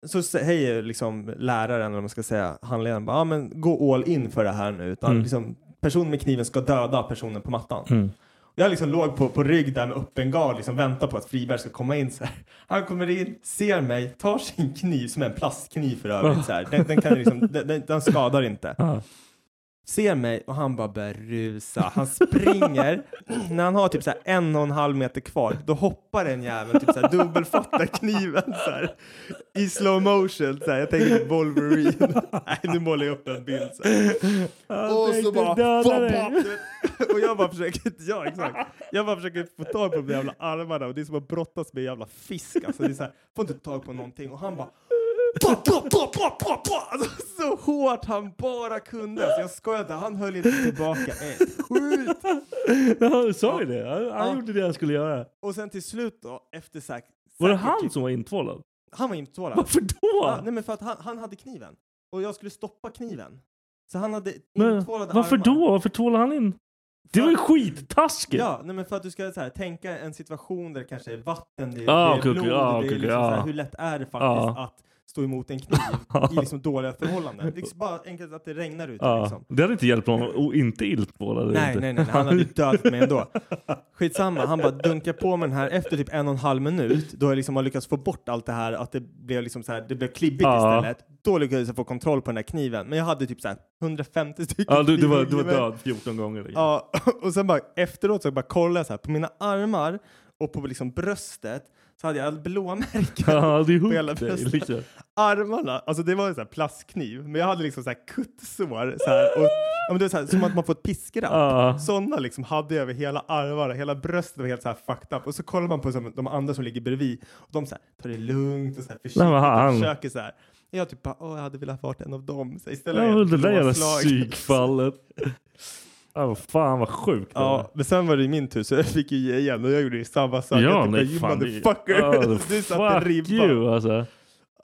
Speaker 4: så säger liksom läraren, eller vad man ska säga, handledaren bara, ah, men gå all in för det här nu. Utan
Speaker 1: Mm.
Speaker 4: liksom, personen med kniven ska döda personen på mattan.
Speaker 1: Mm.
Speaker 4: Jag liksom låg på, på rygg där med öppen gard, liksom väntar på att Friberg ska komma in så här. Han kommer in, ser mig, tar sin kniv, som är en plastkniv för övrigt, så här. Den, den, kan ju liksom, den, den- den skadar inte
Speaker 1: Ja.
Speaker 4: ser mig och han bara börjar rusa. Han springer. När han har typ så här en och en halv meter kvar, då hoppar den jäveln typ så här dubbelfattar kniven så här, i slow motion. Så här. Jag tänker typ Wolverine. Nej, nu målar jag upp en bild. Så här. Och så bara... "Fan, pop!" Och jag bara försöker... Ja, exakt. Jag bara försöker få tag på de jävla armarna och det är som att brottas med en jävla fisk. Alltså, det är så här, får inte tag på någonting. Och han bara... Pa, pa, pa, pa, pa, pa. Alltså, så hårt han bara kunde. Alltså, jag skojar inte, han höll inte tillbaka ett skjut.
Speaker 1: Ja, du sa ju det. Han, han gjorde det han skulle göra.
Speaker 4: Och sen till slut då, efter så här,
Speaker 1: Var det
Speaker 4: säkert
Speaker 1: han
Speaker 4: typ-
Speaker 1: som var intvålad?
Speaker 4: Han var intvålad.
Speaker 1: Varför då?
Speaker 4: Ja, nej men för att han, han hade kniven. Och jag skulle stoppa kniven. Så han hade
Speaker 1: Men
Speaker 4: intvålade
Speaker 1: varför
Speaker 4: armar.
Speaker 1: då? Varför tvålade han in? Det var ju skittaskigt!
Speaker 4: Ja, nej men för att du ska så här, tänka en situation där det kanske är vatten, det,
Speaker 1: Ah,
Speaker 4: det är
Speaker 1: okej, okej,
Speaker 4: blod,
Speaker 1: ah,
Speaker 4: det är
Speaker 1: okej, okej,
Speaker 4: liksom så
Speaker 1: ah.
Speaker 4: här, hur lätt är det faktiskt
Speaker 1: Ah.
Speaker 4: att stå emot en kniv i liksom dåliga förhållanden? Det är liksom bara enkelt att det regnar ut
Speaker 1: Ja,
Speaker 4: liksom.
Speaker 1: Det hade inte hjälpt honom att inte iltvåla. det
Speaker 4: Nej,
Speaker 1: inte.
Speaker 4: nej, nej, han hade ju dödat mig ändå. Skitsamma, han bara dunkar på med den här efter typ en och en halv minut då jag liksom har lyckats få bort allt det här att det blev liksom så här, det blev klibbigt
Speaker 1: Ja.
Speaker 4: istället. Då lyckades jag få kontroll på den där kniven. Men jag hade typ så här 150 stycken
Speaker 1: Ja, du, du,
Speaker 4: knivar
Speaker 1: var,
Speaker 4: i
Speaker 1: du var
Speaker 4: kniven.
Speaker 1: död 14 gånger. liksom.
Speaker 4: Ja, och sen bara efteråt så bara kollade jag så här på mina armar och på liksom bröstet så hade jag blåmärken.
Speaker 1: Ja, det är
Speaker 4: på hela
Speaker 1: huggt dig.
Speaker 4: bröstet.
Speaker 1: Liksom.
Speaker 4: Armarna, alltså det var en så här plastkniv, men jag hade liksom så här kuttsår så här, och, ja, men det var så här, som att man får ett piskrapp.
Speaker 1: Ja.
Speaker 4: Sådana liksom hade jag över hela armarna, hela bröstet var helt så här fucked up. Och så kollar man på som, de andra som ligger bredvid och de så här, tar det lugnt och så här försiktigt
Speaker 1: Nej, men han-
Speaker 4: och försöker så här. Jag typ bara, åh, jag hade velat vara en av dem. Så istället
Speaker 1: Ja,
Speaker 4: är jag
Speaker 1: det där jävla
Speaker 4: blåslag.
Speaker 1: psykfallet. Ja, vad fan vad sjukt. det
Speaker 4: Ja,
Speaker 1: var.
Speaker 4: men sen var det ju min tur så jag fick ju ge igen och jag gjorde ju samma sak.
Speaker 1: Ja,
Speaker 4: jag typ,
Speaker 1: nej
Speaker 4: "You
Speaker 1: fan. det-
Speaker 4: motherfucker.
Speaker 1: Ja,
Speaker 4: Så du satte
Speaker 1: fuck
Speaker 4: ribban.
Speaker 1: you alltså.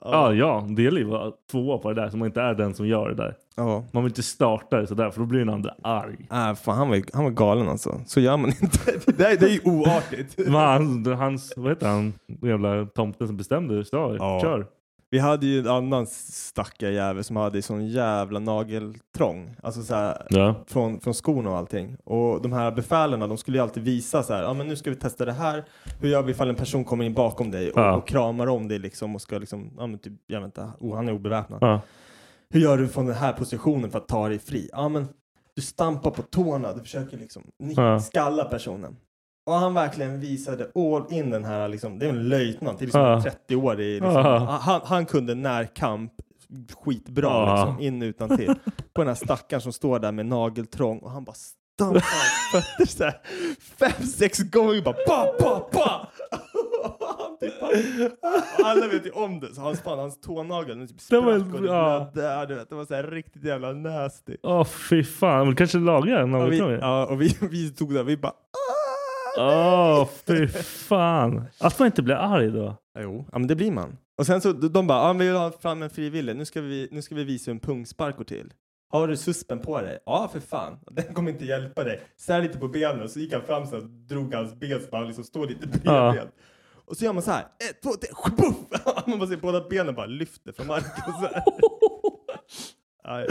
Speaker 1: Ja, ja. Deli var tvåa på det där som inte är den som gör det där.
Speaker 4: Ja.
Speaker 1: Man vill inte starta det sådär för då blir den andra arg.
Speaker 4: Äh, fan, han, var, ju- han var galen alltså. Så gör man inte. Det, där, det är ju oartigt.
Speaker 1: Men han, hans, vad heter han, den jävla tomten som bestämde sa
Speaker 4: Ja.
Speaker 1: kör.
Speaker 4: Vi hade ju en annan stackare jävel som hade sån jävla nageltrång. Alltså så här,
Speaker 1: Ja.
Speaker 4: från, från skorna och allting. Och de här befälerna, de skulle ju alltid visa så här, ja men nu ska vi testa det här. Hur gör vi ifall en person kommer in bakom dig och,
Speaker 1: Ja.
Speaker 4: och kramar om dig liksom och ska liksom, ja men typ, jag vet inte, oh, han är obeväpnad.
Speaker 1: Ja.
Speaker 4: Hur gör du från den här positionen för att ta dig fri? Ja men, du stampar på tårna, du försöker liksom nick-
Speaker 1: Ja.
Speaker 4: skalla personen. Och han verkligen visade all in den här, liksom, det är en löjtnant, det är liksom
Speaker 1: Ja.
Speaker 4: en 30-årig. Liksom,
Speaker 1: Ja.
Speaker 4: han, han kunde närkamp skitbra
Speaker 1: Ja.
Speaker 4: liksom, in utan till. På den här stackaren som står där med nageltrång och han bara stampar fötter så här, fem, sex gånger bara ba, ba, ba. Och han typ bara- Alla vet ju om det, så han spann hans tånagel, den typ
Speaker 1: Det
Speaker 4: sprack
Speaker 1: var-
Speaker 4: och det
Speaker 1: ja.
Speaker 4: blödde. Ja, du vet, Det var så här riktigt jävla nasty.
Speaker 1: Åh ah, fy fan, men kanske laga en
Speaker 4: Och vi,
Speaker 1: nageltrång?
Speaker 4: ja, och vi, vi tog det, vi bara
Speaker 1: Åh Ah, fy fan. Att man inte blir arg då.
Speaker 4: Jo, ja, men det blir man. Och sen så de bara, ja, men vi vill ha fram en frivillig, nu ska vi, nu ska vi visa hur en pungspark går till. Har du suspen på dig? Ja, för fan. Den kommer inte hjälpa dig. Sär lite på benen. Och så gick han fram så här, drog hans ben så han liksom står lite
Speaker 1: Ja.
Speaker 4: bredbent. Och så gör man så här, ett, två, tre, sjubuff! Man bara ser båda benen bara lyfter från marken så här. Nej.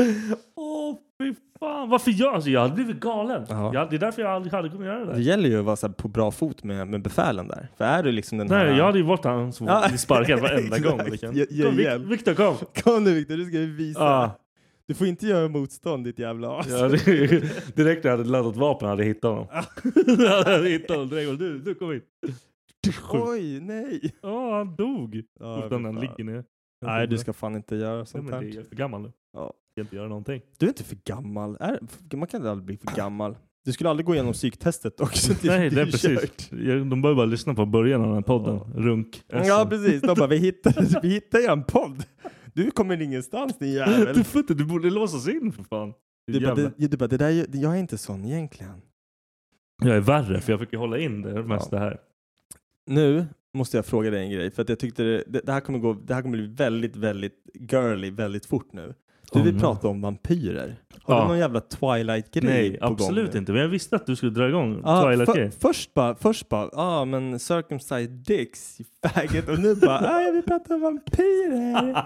Speaker 1: Åh fy varför jag? Alltså, jag hade blivit galen.
Speaker 4: Oh, Ja.
Speaker 1: Jag, det är därför jag aldrig hade kunnat göra det
Speaker 4: Det
Speaker 1: där.
Speaker 4: gäller ju att vara så här på bra fot med, med befälen där. För är du liksom den här...
Speaker 1: Nej, jag hade ju varit han som
Speaker 4: Ja.
Speaker 1: blev sparkad varenda gång.
Speaker 4: Exakt.
Speaker 1: Vilken.
Speaker 4: Ge- ge
Speaker 1: Kom, Vic-
Speaker 4: igen.
Speaker 1: Victor kom! Ah,
Speaker 4: Kom nu Viktor, du ska vi visa.
Speaker 1: Ja.
Speaker 4: Du får inte göra motstånd ditt jävla as.
Speaker 1: Ja, det- direkt när jag hade laddat vapen hade jag hittat honom. jag hade hittat honom direkt. och Du, du kom hit.
Speaker 4: Oj, nej.
Speaker 1: Ja, han dog.
Speaker 4: Ja,
Speaker 1: Utan
Speaker 4: men
Speaker 1: den
Speaker 4: fan.
Speaker 1: ligger ner.
Speaker 4: Nej, du ska fan inte göra
Speaker 1: Nej,
Speaker 4: sånt
Speaker 1: men det är
Speaker 4: här.
Speaker 1: för gammal nu.
Speaker 4: Ja.
Speaker 1: Jag kan inte göra någonting.
Speaker 4: Du är inte för gammal. Är, man kan aldrig bli för gammal. Du skulle aldrig gå igenom psyktestet också.
Speaker 1: Nej, det är
Speaker 4: ju
Speaker 1: precis.
Speaker 4: kört.
Speaker 1: Jag- De bör bara lyssna på början av den här podden.
Speaker 4: Ja.
Speaker 1: Runk. Alltså.
Speaker 4: Ja,
Speaker 1: SM.
Speaker 4: precis. De bara, vi hittar, vi hittar ju en podd. Du kommer ingenstans din jävel.
Speaker 1: Du får inte, du borde låsas in för fan.
Speaker 4: Du bara,
Speaker 1: Jävla-
Speaker 4: det, du bara, det där, är ju- jag är inte sån egentligen.
Speaker 1: Jag är värre för jag fick ju hålla in det mesta här.
Speaker 4: Nu måste jag fråga dig en grej, för att jag tyckte det, det, det, här kommer gå, det här kommer bli väldigt, väldigt girly väldigt fort nu. Du
Speaker 1: Åh,
Speaker 4: vill
Speaker 1: nej.
Speaker 4: prata om vampyrer. Har
Speaker 1: Mm. Ja.
Speaker 4: du någon jävla Twilight-grej
Speaker 1: Nej,
Speaker 4: på
Speaker 1: absolut
Speaker 4: gång nu?
Speaker 1: inte. Men jag visste att du skulle dra igång
Speaker 4: Ja,
Speaker 1: Twilight
Speaker 4: för-
Speaker 1: Gay.
Speaker 4: Ah, först bara, först bara, ah, men circumcised dicks, you faggot. Och nu bara, ah, jag vill prata om vampyrer.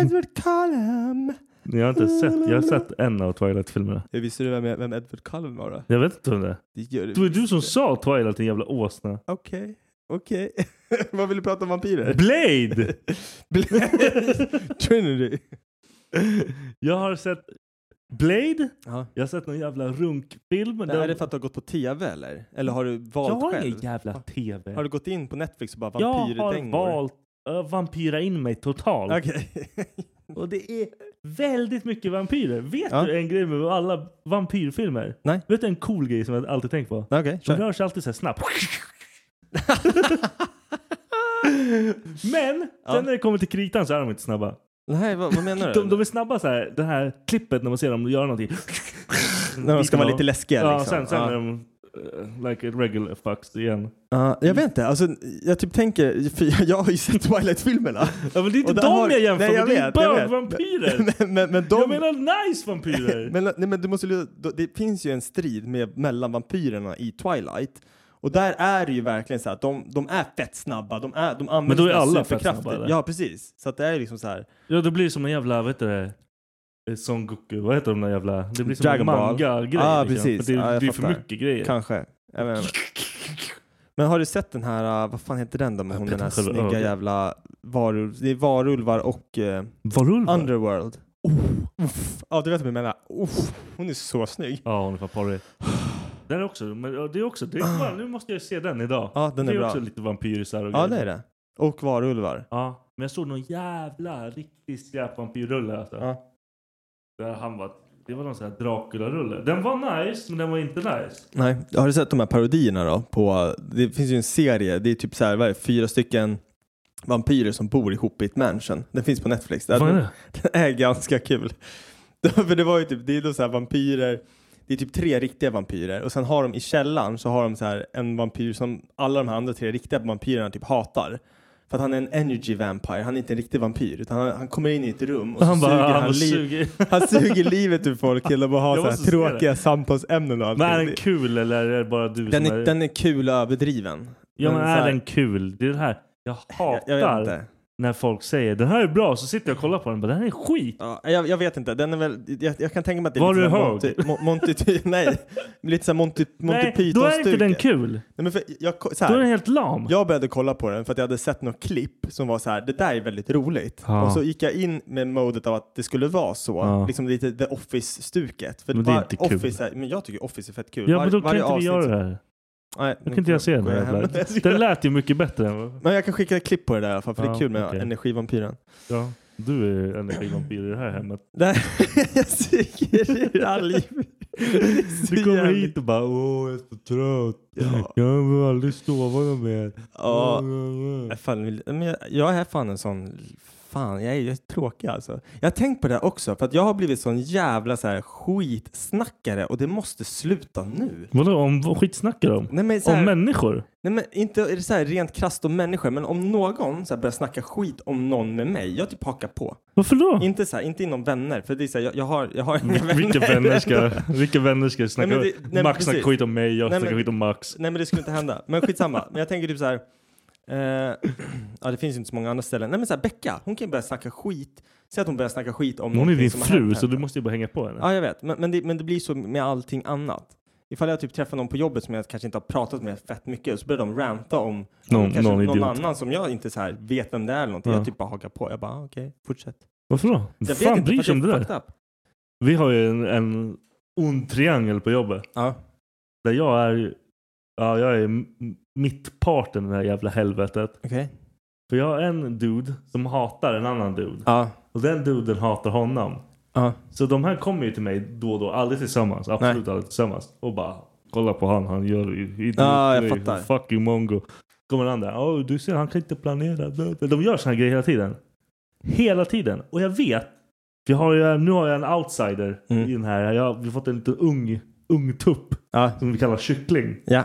Speaker 4: Edward Cullen.
Speaker 1: Jag har inte sett, jag har sett en av Twilight-filmerna.
Speaker 4: Hur visste du vem, vem Edward Cullen var då?
Speaker 1: Jag vet inte vem det är.
Speaker 4: Det gör
Speaker 1: Det var ju du
Speaker 4: visst.
Speaker 1: som sa Twilight, din jävla åsna.
Speaker 4: Okej, okej. Vad vill du prata om vampyrer?
Speaker 1: Blade!
Speaker 4: Bl- Trinity.
Speaker 1: Jag har sett Blade.
Speaker 4: Ja.
Speaker 1: Jag har sett någon jävla runkfilm.
Speaker 4: Det är det för att du har gått på tv eller? Eller har du valt
Speaker 1: jag har
Speaker 4: själv?
Speaker 1: ingen jävla tv.
Speaker 4: Har du gått in på Netflix och bara
Speaker 1: jag har
Speaker 4: vampyrdängor?
Speaker 1: valt att vampyra in mig totalt.
Speaker 4: Okej.
Speaker 1: Och det är väldigt mycket vampyrer. Vet
Speaker 4: Ja.
Speaker 1: du en grej med alla vampyrfilmer?
Speaker 4: Nej.
Speaker 1: Vet du en cool grej som jag alltid tänkt på?
Speaker 4: Okej,
Speaker 1: De
Speaker 4: kör.
Speaker 1: rör sig alltid så här snabbt. Men
Speaker 4: Ja.
Speaker 1: sen när det kommer till kritan så är de inte snabba.
Speaker 4: Nej, vad, vad menar du?
Speaker 1: De, de är snabba så här, det här klippet när man ser dem göra någonting.
Speaker 4: När de ska vara lite läskiga
Speaker 1: Ja,
Speaker 4: liksom.
Speaker 1: sen, sen
Speaker 4: Ja.
Speaker 1: är de eh, like a regular fucks igen.
Speaker 4: Ja, jag vet inte, alltså, jag typ tänker, för jag, jag har ju sett Twilight-filmerna.
Speaker 1: Ja, men det är inte
Speaker 4: Och där
Speaker 1: dem
Speaker 4: har-
Speaker 1: jag jämför
Speaker 4: Nej, jag
Speaker 1: med, det är
Speaker 4: vet, jag vet.
Speaker 1: bögvampyrer.
Speaker 4: Men, men, men de...
Speaker 1: Jag menar nice vampyrer.
Speaker 4: men, nej, men du måste, lyda- då- det finns ju en strid med, mellan vampyrerna i Twilight. Och där är det ju verkligen så att de, de är fett snabba. De, är, de använder
Speaker 1: Men då är
Speaker 4: sina
Speaker 1: alla fett
Speaker 4: superkrafter.
Speaker 1: snabba, eller?
Speaker 4: Ja, precis. Så att det är ju liksom så här.
Speaker 1: Ja, det blir som en jävla, vad heter det? Eh, Son Goku, vad heter de där jävla? Det blir som
Speaker 4: Dragon
Speaker 1: en
Speaker 4: Ball.
Speaker 1: manga-grej.
Speaker 4: Ah,
Speaker 1: liksom.
Speaker 4: precis.
Speaker 1: För Det,
Speaker 4: Ja, jag
Speaker 1: det är för
Speaker 4: fattar.
Speaker 1: mycket grejer.
Speaker 4: Kanske. Jag vet inte. Men har du sett den här, uh, vad fan heter den då? Med
Speaker 1: Jag
Speaker 4: hon,
Speaker 1: vet
Speaker 4: den här
Speaker 1: inte själv.
Speaker 4: snygga
Speaker 1: Ja.
Speaker 4: jävla varulv. Det är varulvar och eh,
Speaker 1: Varulvar? Oh.
Speaker 4: Underworld. Uff. Ja, du vet vad jag menar. Uff. Hon är så snygg.
Speaker 1: Ja, hon är fan porrig. Den är också, men ja, det är också, det är, fan, nu måste jag se den idag.
Speaker 4: Ja, den är
Speaker 1: det är
Speaker 4: bra.
Speaker 1: också lite vampyrisar och
Speaker 4: Ja,
Speaker 1: grejer.
Speaker 4: det är det. Och varulvar.
Speaker 1: Ja, men jag såg någon jävla riktig skräpvampyrrulle alltså.
Speaker 4: Ja.
Speaker 1: Där han var, det var någon sån här Dracula-rulle. Den var nice, men den var inte nice.
Speaker 4: Nej, har du sett de här parodierna då? På, det finns ju en serie, det är typ så här, vad är det, fyra stycken vampyrer som bor ihop i ett mansion. Den finns på Netflix. Den,
Speaker 1: Vad är det?
Speaker 4: den är ganska kul. För det var ju typ, det är då så här vampyrer, det är typ tre riktiga vampyrer och sen har de i källaren så har de så här en vampyr som alla de här andra tre riktiga vampyrerna typ hatar. För att han är en energy vampire, han är inte en riktig vampyr utan han, han kommer in i ett rum och så
Speaker 1: Han bara, "Ah,
Speaker 4: suger
Speaker 1: han
Speaker 4: han,
Speaker 1: bara
Speaker 4: liv,
Speaker 1: suger.
Speaker 4: han suger livet ur folk genom att ha
Speaker 1: Jag
Speaker 4: så här
Speaker 1: måste se det.
Speaker 4: tråkiga samtalsämnen och
Speaker 1: Men är
Speaker 4: allting.
Speaker 1: den kul eller är det bara du
Speaker 4: Den
Speaker 1: som
Speaker 4: är, den är kul och överdriven.
Speaker 1: Ja men
Speaker 4: så här-
Speaker 1: är den kul? Det är det här. Jag
Speaker 4: Jag,
Speaker 1: hatar
Speaker 4: jag vet inte.
Speaker 1: när folk säger den här är bra så sitter jag och kollar på den och bara den här är skit.
Speaker 4: Ja, jag, jag vet inte. Den är väl, jag, jag kan tänka mig att det är
Speaker 1: Var
Speaker 4: lite
Speaker 1: du
Speaker 4: så här
Speaker 1: hög?
Speaker 4: Monty, Mo- Monty, Ty- nej, lite såhär Monty, Monty
Speaker 1: Nej, då är inte den
Speaker 4: Python-stuket.
Speaker 1: kul.
Speaker 4: Nej, men för jag, ko- så
Speaker 1: Då är den
Speaker 4: här,
Speaker 1: helt lam.
Speaker 4: jag började kolla på den för att jag hade sett något klipp som var så här, det där är väldigt roligt.
Speaker 1: Ja.
Speaker 4: Och så gick jag in med modet av att det skulle vara så,
Speaker 1: Ja.
Speaker 4: liksom lite The Office-stuket. För
Speaker 1: Men det är
Speaker 4: var-
Speaker 1: inte kul.
Speaker 4: Office är, men jag tycker Office är fett kul.
Speaker 1: Ja
Speaker 4: Var-
Speaker 1: men då kan
Speaker 4: varje
Speaker 1: inte vi
Speaker 4: avsnitt
Speaker 1: göra
Speaker 4: så-
Speaker 1: det här.
Speaker 4: Nej,
Speaker 1: Då
Speaker 4: nu
Speaker 1: kan inte jag se den.
Speaker 4: kommer jag hem.
Speaker 1: Jävla. Den lät ju mycket bättre än vad...
Speaker 4: Men jag kan skicka ett klipp på det där i alla fall, för det
Speaker 1: Ja,
Speaker 4: är kul med
Speaker 1: okej.
Speaker 4: energivampyren.
Speaker 1: Ja, du är energivampyr i det här hemmet.
Speaker 4: Nej, jag suger ur all liv.
Speaker 1: Du kommer hit och bara åh jag är så trött.
Speaker 4: Ja.
Speaker 1: Jag vill aldrig sova någon mer.
Speaker 4: Ja. Jag, fan, vill- men jag, jag är fan en sån... Fan, jag är, jag är tråkig alltså. Jag har tänkt på det här också, för att jag har blivit sån jävla så här, skitsnackare och det måste sluta nu.
Speaker 1: Vadå om vad skit snackar de?
Speaker 4: Nej men, så
Speaker 1: Om
Speaker 4: här,
Speaker 1: människor?
Speaker 4: nej men inte är det så här rent krasst om människor, men om någon så här, börjar snacka skit om någon med mig, jag typ hakar på.
Speaker 1: Varför då?
Speaker 4: Inte så här, inte inom vänner, för det är så här, jag, jag har, jag har inga vänner.
Speaker 1: Vilka vänner ska, vilka vänner ska snacka?
Speaker 4: Nej, men det- nej, men
Speaker 1: Max snackar
Speaker 4: precis.
Speaker 1: skit om mig, jag
Speaker 4: Nej,
Speaker 1: snackar
Speaker 4: men-
Speaker 1: skit om Max.
Speaker 4: Nej men det skulle inte hända. Men skitsamma. Men jag tänker typ så här. Eh, ja, det finns ju inte så många andra ställen. Nej, men så här, Becka, hon kan ju börja snacka skit. Säg att hon börjar snacka skit om
Speaker 1: Hon är
Speaker 4: någonting
Speaker 1: din
Speaker 4: som har hänt
Speaker 1: fru,
Speaker 4: henne.
Speaker 1: så du måste ju bara hänga på henne.
Speaker 4: Ja, jag vet. Men, men, det, men det blir så med allting annat. Ifall jag typ träffar någon på jobbet som jag kanske inte har pratat med fett mycket så börjar de ranta om
Speaker 1: Någon-
Speaker 4: kanske
Speaker 1: någon
Speaker 4: någon
Speaker 1: idiot.
Speaker 4: annan som jag inte så här vet vem det är eller någonting.
Speaker 1: Ja.
Speaker 4: Jag typ bara hakar på. Jag bara, ah, okej, fortsätt.
Speaker 1: Varför då?
Speaker 4: Jag
Speaker 1: Vem
Speaker 4: vet
Speaker 1: fan
Speaker 4: inte,
Speaker 1: bryr
Speaker 4: för
Speaker 1: sig om
Speaker 4: att
Speaker 1: det
Speaker 4: jag är
Speaker 1: där?
Speaker 4: fucked up.
Speaker 1: Vi har ju en, en ond triangel på jobbet.
Speaker 4: Ja.
Speaker 1: Där jag är, ja, jag är m- mittparten i det här jävla helvetet.
Speaker 4: Okej.
Speaker 1: För jag har en dude som hatar en annan dude.
Speaker 4: Ja.
Speaker 1: Och den duden hatar honom.
Speaker 4: Ja.
Speaker 1: Så de här kommer ju till mig då och då, aldrig tillsammans. Absolut aldrig tillsammans. Och bara kolla på han, han gör ju idiot
Speaker 4: Ja, jag
Speaker 1: grej,
Speaker 4: fattar.
Speaker 1: Fucking mongo. Kommer han där, oh, du ser han kan inte planera. Bla, bla. De gör såna här grejer hela tiden. Hela tiden. Och jag vet, vi har ju, nu har jag en outsider
Speaker 4: Mm.
Speaker 1: i den här. Jag, vi har fått en liten ung, ung tupp som vi kallar kyckling
Speaker 4: Ja.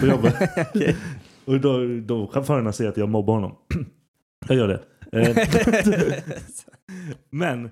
Speaker 1: på jobbet. Och då, då chaufförerna säger att jag mobbar honom. jag gör det. Eh, Men,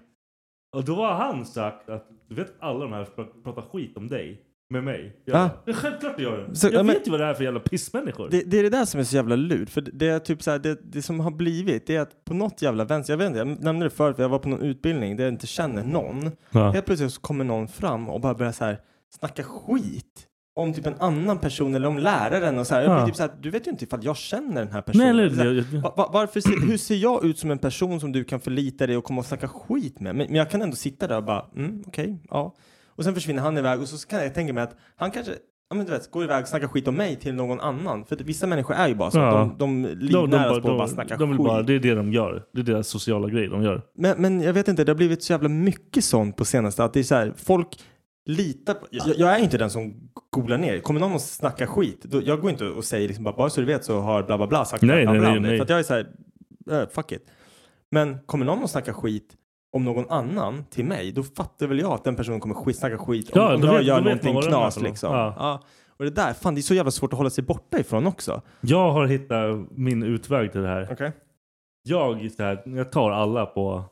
Speaker 1: och då har han sagt att du vet alla de här pra- pratar skit om dig med mig. Jag,
Speaker 4: Ah.
Speaker 1: det är självklart det gör det.
Speaker 4: Så,
Speaker 1: jag
Speaker 4: ja,
Speaker 1: vet
Speaker 4: men-
Speaker 1: ju vad det är för jävla pissmänniskor.
Speaker 4: Det, det är det där som är så jävla lurt. För det, det är typ så här, det, det som har blivit det är att på något jävla vänster, jag vet inte, jag nämnde det förut, för jag var på någon utbildning där jag inte känner någon.
Speaker 1: Ja.
Speaker 4: Helt plötsligt så kommer någon fram och bara börjar så här snacka skit om typ en annan person eller om läraren och så här. Jag
Speaker 1: Ja.
Speaker 4: blir typ så här, du vet ju inte ifall jag känner den här personen.
Speaker 1: Nej, eller-
Speaker 4: Så här,
Speaker 1: jag- jag-
Speaker 4: va- va- varför, ser- hur ser jag ut som en person som du kan förlita dig och komma och snacka skit med? Men, men jag kan ändå sitta där och bara, mm, okej, ja. Och sen försvinner han iväg och så kan jag tänka mig att han kanske Ja, men du vet, går iväg och snackar skit om mig till någon annan. För att vissa människor är ju bara så.
Speaker 1: Ja.
Speaker 4: De, de livnäras på att bara
Speaker 1: de,
Speaker 4: snacka
Speaker 1: de vill
Speaker 4: skit.
Speaker 1: bara, Det är det de gör. Det är deras sociala grej de gör.
Speaker 4: Men, men jag vet inte, det har blivit så jävla mycket sånt på senaste. Att det är så här, folk litar på... Jag, jag är inte den som golar ner. Kommer någon och snackar skit, då, jag går inte och säger liksom bara, bara så du vet så har bla bla bla sagt
Speaker 1: Nej,
Speaker 4: bla, bla,
Speaker 1: nej,
Speaker 4: bla
Speaker 1: nej,
Speaker 4: om dig."
Speaker 1: nej.
Speaker 4: För att jag är så här, eh, fuck it. Men kommer någon och snackar skit om någon annan till mig, då fattar väl jag att den personen kommer skit, snacka skit om,
Speaker 1: Ja,
Speaker 4: om
Speaker 1: då
Speaker 4: jag
Speaker 1: vet-
Speaker 4: gör
Speaker 1: då vet man
Speaker 4: någonting
Speaker 1: vad den är
Speaker 4: knas
Speaker 1: för något.
Speaker 4: liksom.
Speaker 1: Ja.
Speaker 4: Ja. Och det där, fan det är så jävla svårt att hålla sig borta ifrån också.
Speaker 1: Jag har hittat min utväg till det här. Jag, så här, jag tar alla på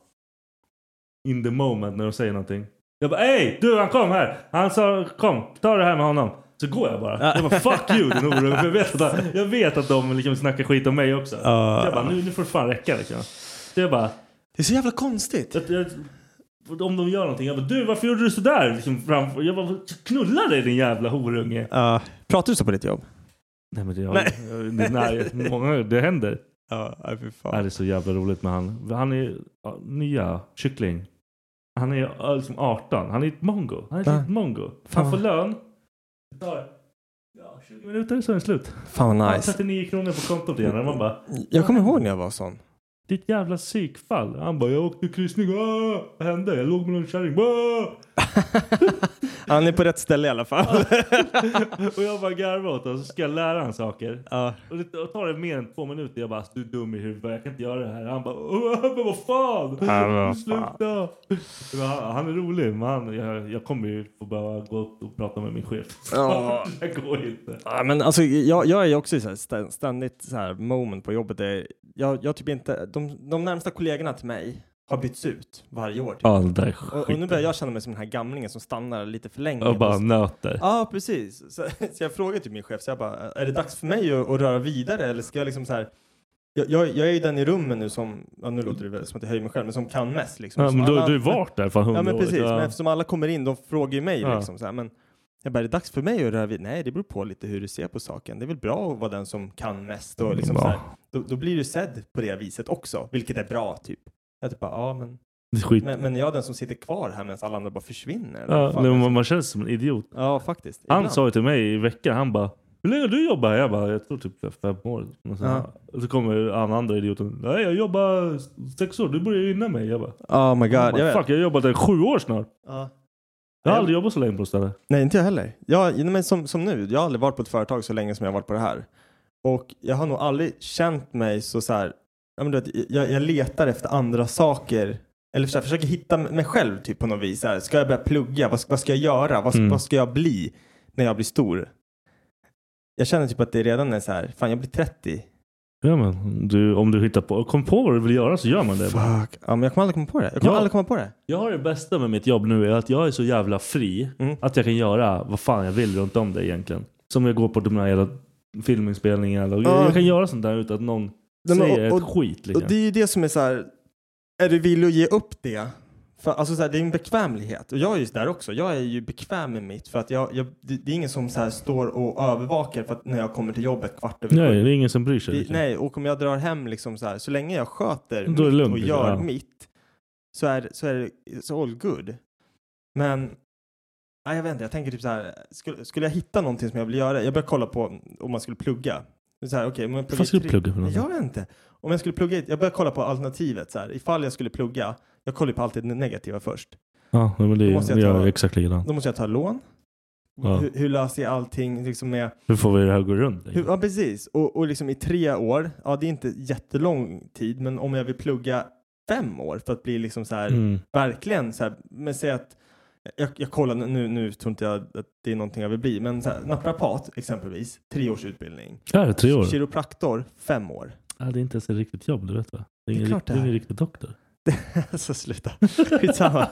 Speaker 1: in the moment när de säger någonting. Jag bara ey du han kom här! Han sa kom, ta det här med honom. Så går jag bara. Jag bara fuck you din oro. För jag, vet att, jag vet att de liksom snackar skit om mig
Speaker 4: Eh,
Speaker 1: också. Så jag bara nu, nu får det fan räcka liksom. Så jag bara,
Speaker 4: Det är så jävla konstigt.
Speaker 1: jag, jag, om de gör någonting. Jag bara du varför gjorde du sådär? Liksom, framför, jag bara knulla dig din jävla horunge.
Speaker 4: Ja. pratar du så på ditt jobb?
Speaker 1: Nej men det, jag,
Speaker 4: Nej.
Speaker 1: det, nej, många, det händer.
Speaker 4: Ja, nej, fy
Speaker 1: Ja,
Speaker 4: fan.
Speaker 1: det är så jävla roligt med han. Han är ja, nya kyckling. Han är ja, liksom 18. Han är ett mongo. Han är ett
Speaker 4: Va?
Speaker 1: litet mongo. Han
Speaker 4: Fan.
Speaker 1: får lön. Det tar ja, 20 minuter så är den slut.
Speaker 4: Fan
Speaker 1: Han
Speaker 4: vad
Speaker 1: har
Speaker 4: nice.
Speaker 1: 39 kronor på kontot igen. Och man bara,
Speaker 4: Jag kommer ihåg när jag var sån.
Speaker 1: ditt jävla psykfall. Han bara, jag åkte kryssning. Ah, vad hände? Jag låg med någon kärring. Ah!
Speaker 4: Han är på rätt ställe i alla fall.
Speaker 1: Och jag bara garvar åt honom. Så ska jag lära honom saker.
Speaker 4: Ja.
Speaker 1: Och det och tar det mer än två minuter. Jag bara, du är dum i huvudet. Jag kan inte göra det här. Han bara, "Åh, men vad fan?
Speaker 4: vad
Speaker 1: Sluta! Men Han, han är rolig, men han, jag, jag kommer ju få behöva gå upp och prata med min chef.
Speaker 4: Ja.
Speaker 1: det går inte.
Speaker 4: Ja, men alltså, jag, jag är ju också i så här stä- ständigt så här moment på jobbet. Där jag, jag typ inte, de, de närmsta kollegorna till mig har bytts ut varje år. Typ.
Speaker 1: Ja, det där är
Speaker 4: Och, och nu börjar jag känna mig som den här gamlingen som stannar lite för länge.
Speaker 1: Och bara nöter.
Speaker 4: Ja, precis. Så, så jag frågade typ min chef, så jag bara, är det dags för mig att, att röra vidare eller ska jag liksom så här jag, jag, jag är ju den i rummen nu som, ja, nu låter det väl som att jag höjer mig själv, men som kan mest liksom.
Speaker 1: Ja,
Speaker 4: Som
Speaker 1: men du,
Speaker 4: alla-
Speaker 1: du har ju varit där fan hundra
Speaker 4: Ja men precis,
Speaker 1: år.
Speaker 4: men eftersom alla kommer in, de frågar ju mig
Speaker 1: Ja.
Speaker 4: liksom så här, men jag bara, är det dags för mig att röra vid? Nej, det beror på lite hur du ser på saken. Det är väl bra att vara den som kan mest och liksom
Speaker 1: Ja.
Speaker 4: så här, då, då blir du sedd på det viset också, vilket är bra typ. Jag typ bara, ja men,
Speaker 1: Det är skit.
Speaker 4: men, men jag är den som sitter kvar här medan alla andra bara försvinner.
Speaker 1: ja,
Speaker 4: Fan,
Speaker 1: nej,
Speaker 4: alltså.
Speaker 1: man, man känns som en idiot.
Speaker 4: ja faktiskt.
Speaker 1: Han
Speaker 4: Ibland.
Speaker 1: sa ju till mig i veckan, han bara hur länge har du jobbat här? Jag bara, jag tror typ fem år. Och sen,
Speaker 4: Ja.
Speaker 1: och så kommer han andra idioten. Nej, jag jobbar sex år. Du började ju innan mig. Jag bara,
Speaker 4: Oh my god,
Speaker 1: jag,
Speaker 4: jag vet.
Speaker 1: fuck, jag har jobbat där sju år snart.
Speaker 4: Ja.
Speaker 1: Jag har
Speaker 4: Ja.
Speaker 1: aldrig jobbat så länge på ett ställe.
Speaker 4: Nej, inte jag heller. Jag, nej, men som, som nu, jag har aldrig varit på ett företag så länge som jag har varit på det här. Och jag har nog aldrig känt mig så så här, ja, men du vet, jag, jag letar efter andra saker. Eller så här, försöker hitta mig själv typ på något vis. Så här, ska jag börja plugga? Vad, vad ska jag göra? Vad,
Speaker 1: Mm.
Speaker 4: vad ska jag bli när jag blir stor? Jag känner typ att det redan är så här, fan jag blir 30.
Speaker 1: Ja, men du, om du hittar på, kom på vad du vill göra så gör man det.
Speaker 4: Fuck. Ja, men jag kommer aldrig komma på det. Jag kommer
Speaker 1: Ja.
Speaker 4: aldrig komma på det.
Speaker 1: Jag har det bästa med mitt jobb nu är att jag är så jävla fri
Speaker 4: Mm.
Speaker 1: att jag kan göra vad fan jag vill runt om det egentligen. Som jag går på de här jävla filminspelningar och
Speaker 4: Ja.
Speaker 1: grejer. Jag kan göra sånt där utan att någon
Speaker 4: Nej, men
Speaker 1: säger
Speaker 4: och-
Speaker 1: ett skit. Liksom.
Speaker 4: Och det är ju det som är så här, är du villig att ge upp det? För, alltså så här, det är en bekvämlighet och jag är ju där också. Jag är ju bekväm med mitt för att jag, jag, det, det är ingen som så här står och övervakar för att när jag kommer till jobbet kvart över sju.
Speaker 1: Nej, det är ingen som bryr sig.
Speaker 4: Det-
Speaker 1: liksom.
Speaker 4: Nej, och om jag drar hem liksom så här, så länge jag sköter
Speaker 1: Då är
Speaker 4: mitt
Speaker 1: det lugnt,
Speaker 4: och
Speaker 1: liksom,
Speaker 4: gör
Speaker 1: ja.
Speaker 4: mitt så är, så är det så all good. Men nej, jag vet inte, jag tänker typ så här, skulle, skulle jag hitta någonting som jag vill göra? Jag börjar kolla på om man skulle plugga. Så här, okay, men
Speaker 1: Vad ska du plugga för
Speaker 4: Nej,
Speaker 1: någonting?
Speaker 4: Jag vet inte. Om jag skulle plugga, jag börjar kolla på alternativet så här, ifall jag skulle plugga, jag kollar ju på alltid det negativa först.
Speaker 1: Ja, men det
Speaker 4: Då måste jag
Speaker 1: är, jag
Speaker 4: ta-
Speaker 1: är exakt likadant.
Speaker 4: Då måste jag ta lån.
Speaker 1: Ja.
Speaker 4: Hur, hur löser jag allting liksom med
Speaker 1: Hur får vi det här att gå runt?
Speaker 4: Hur,
Speaker 1: liksom?
Speaker 4: ja, precis. Och, och liksom i tre år, ja det är inte jättelång tid, men om jag vill plugga fem år för att bli liksom så här,
Speaker 1: Mm.
Speaker 4: verkligen så här, men säg att jag, jag kollar nu, nu tror inte jag att det är någonting jag vill bli, men så här, naprapat exempelvis, tre års utbildning.
Speaker 1: Ja, det är tre år.
Speaker 4: Kiropraktor, fem år.
Speaker 1: Ja, det är inte ens ett riktigt jobb, du vet va? Det är
Speaker 4: Det är
Speaker 1: ingen,
Speaker 4: klart
Speaker 1: rikt,
Speaker 4: det
Speaker 1: det är
Speaker 4: är.
Speaker 1: ingen riktig doktor.
Speaker 4: så sluta. Skitsamma.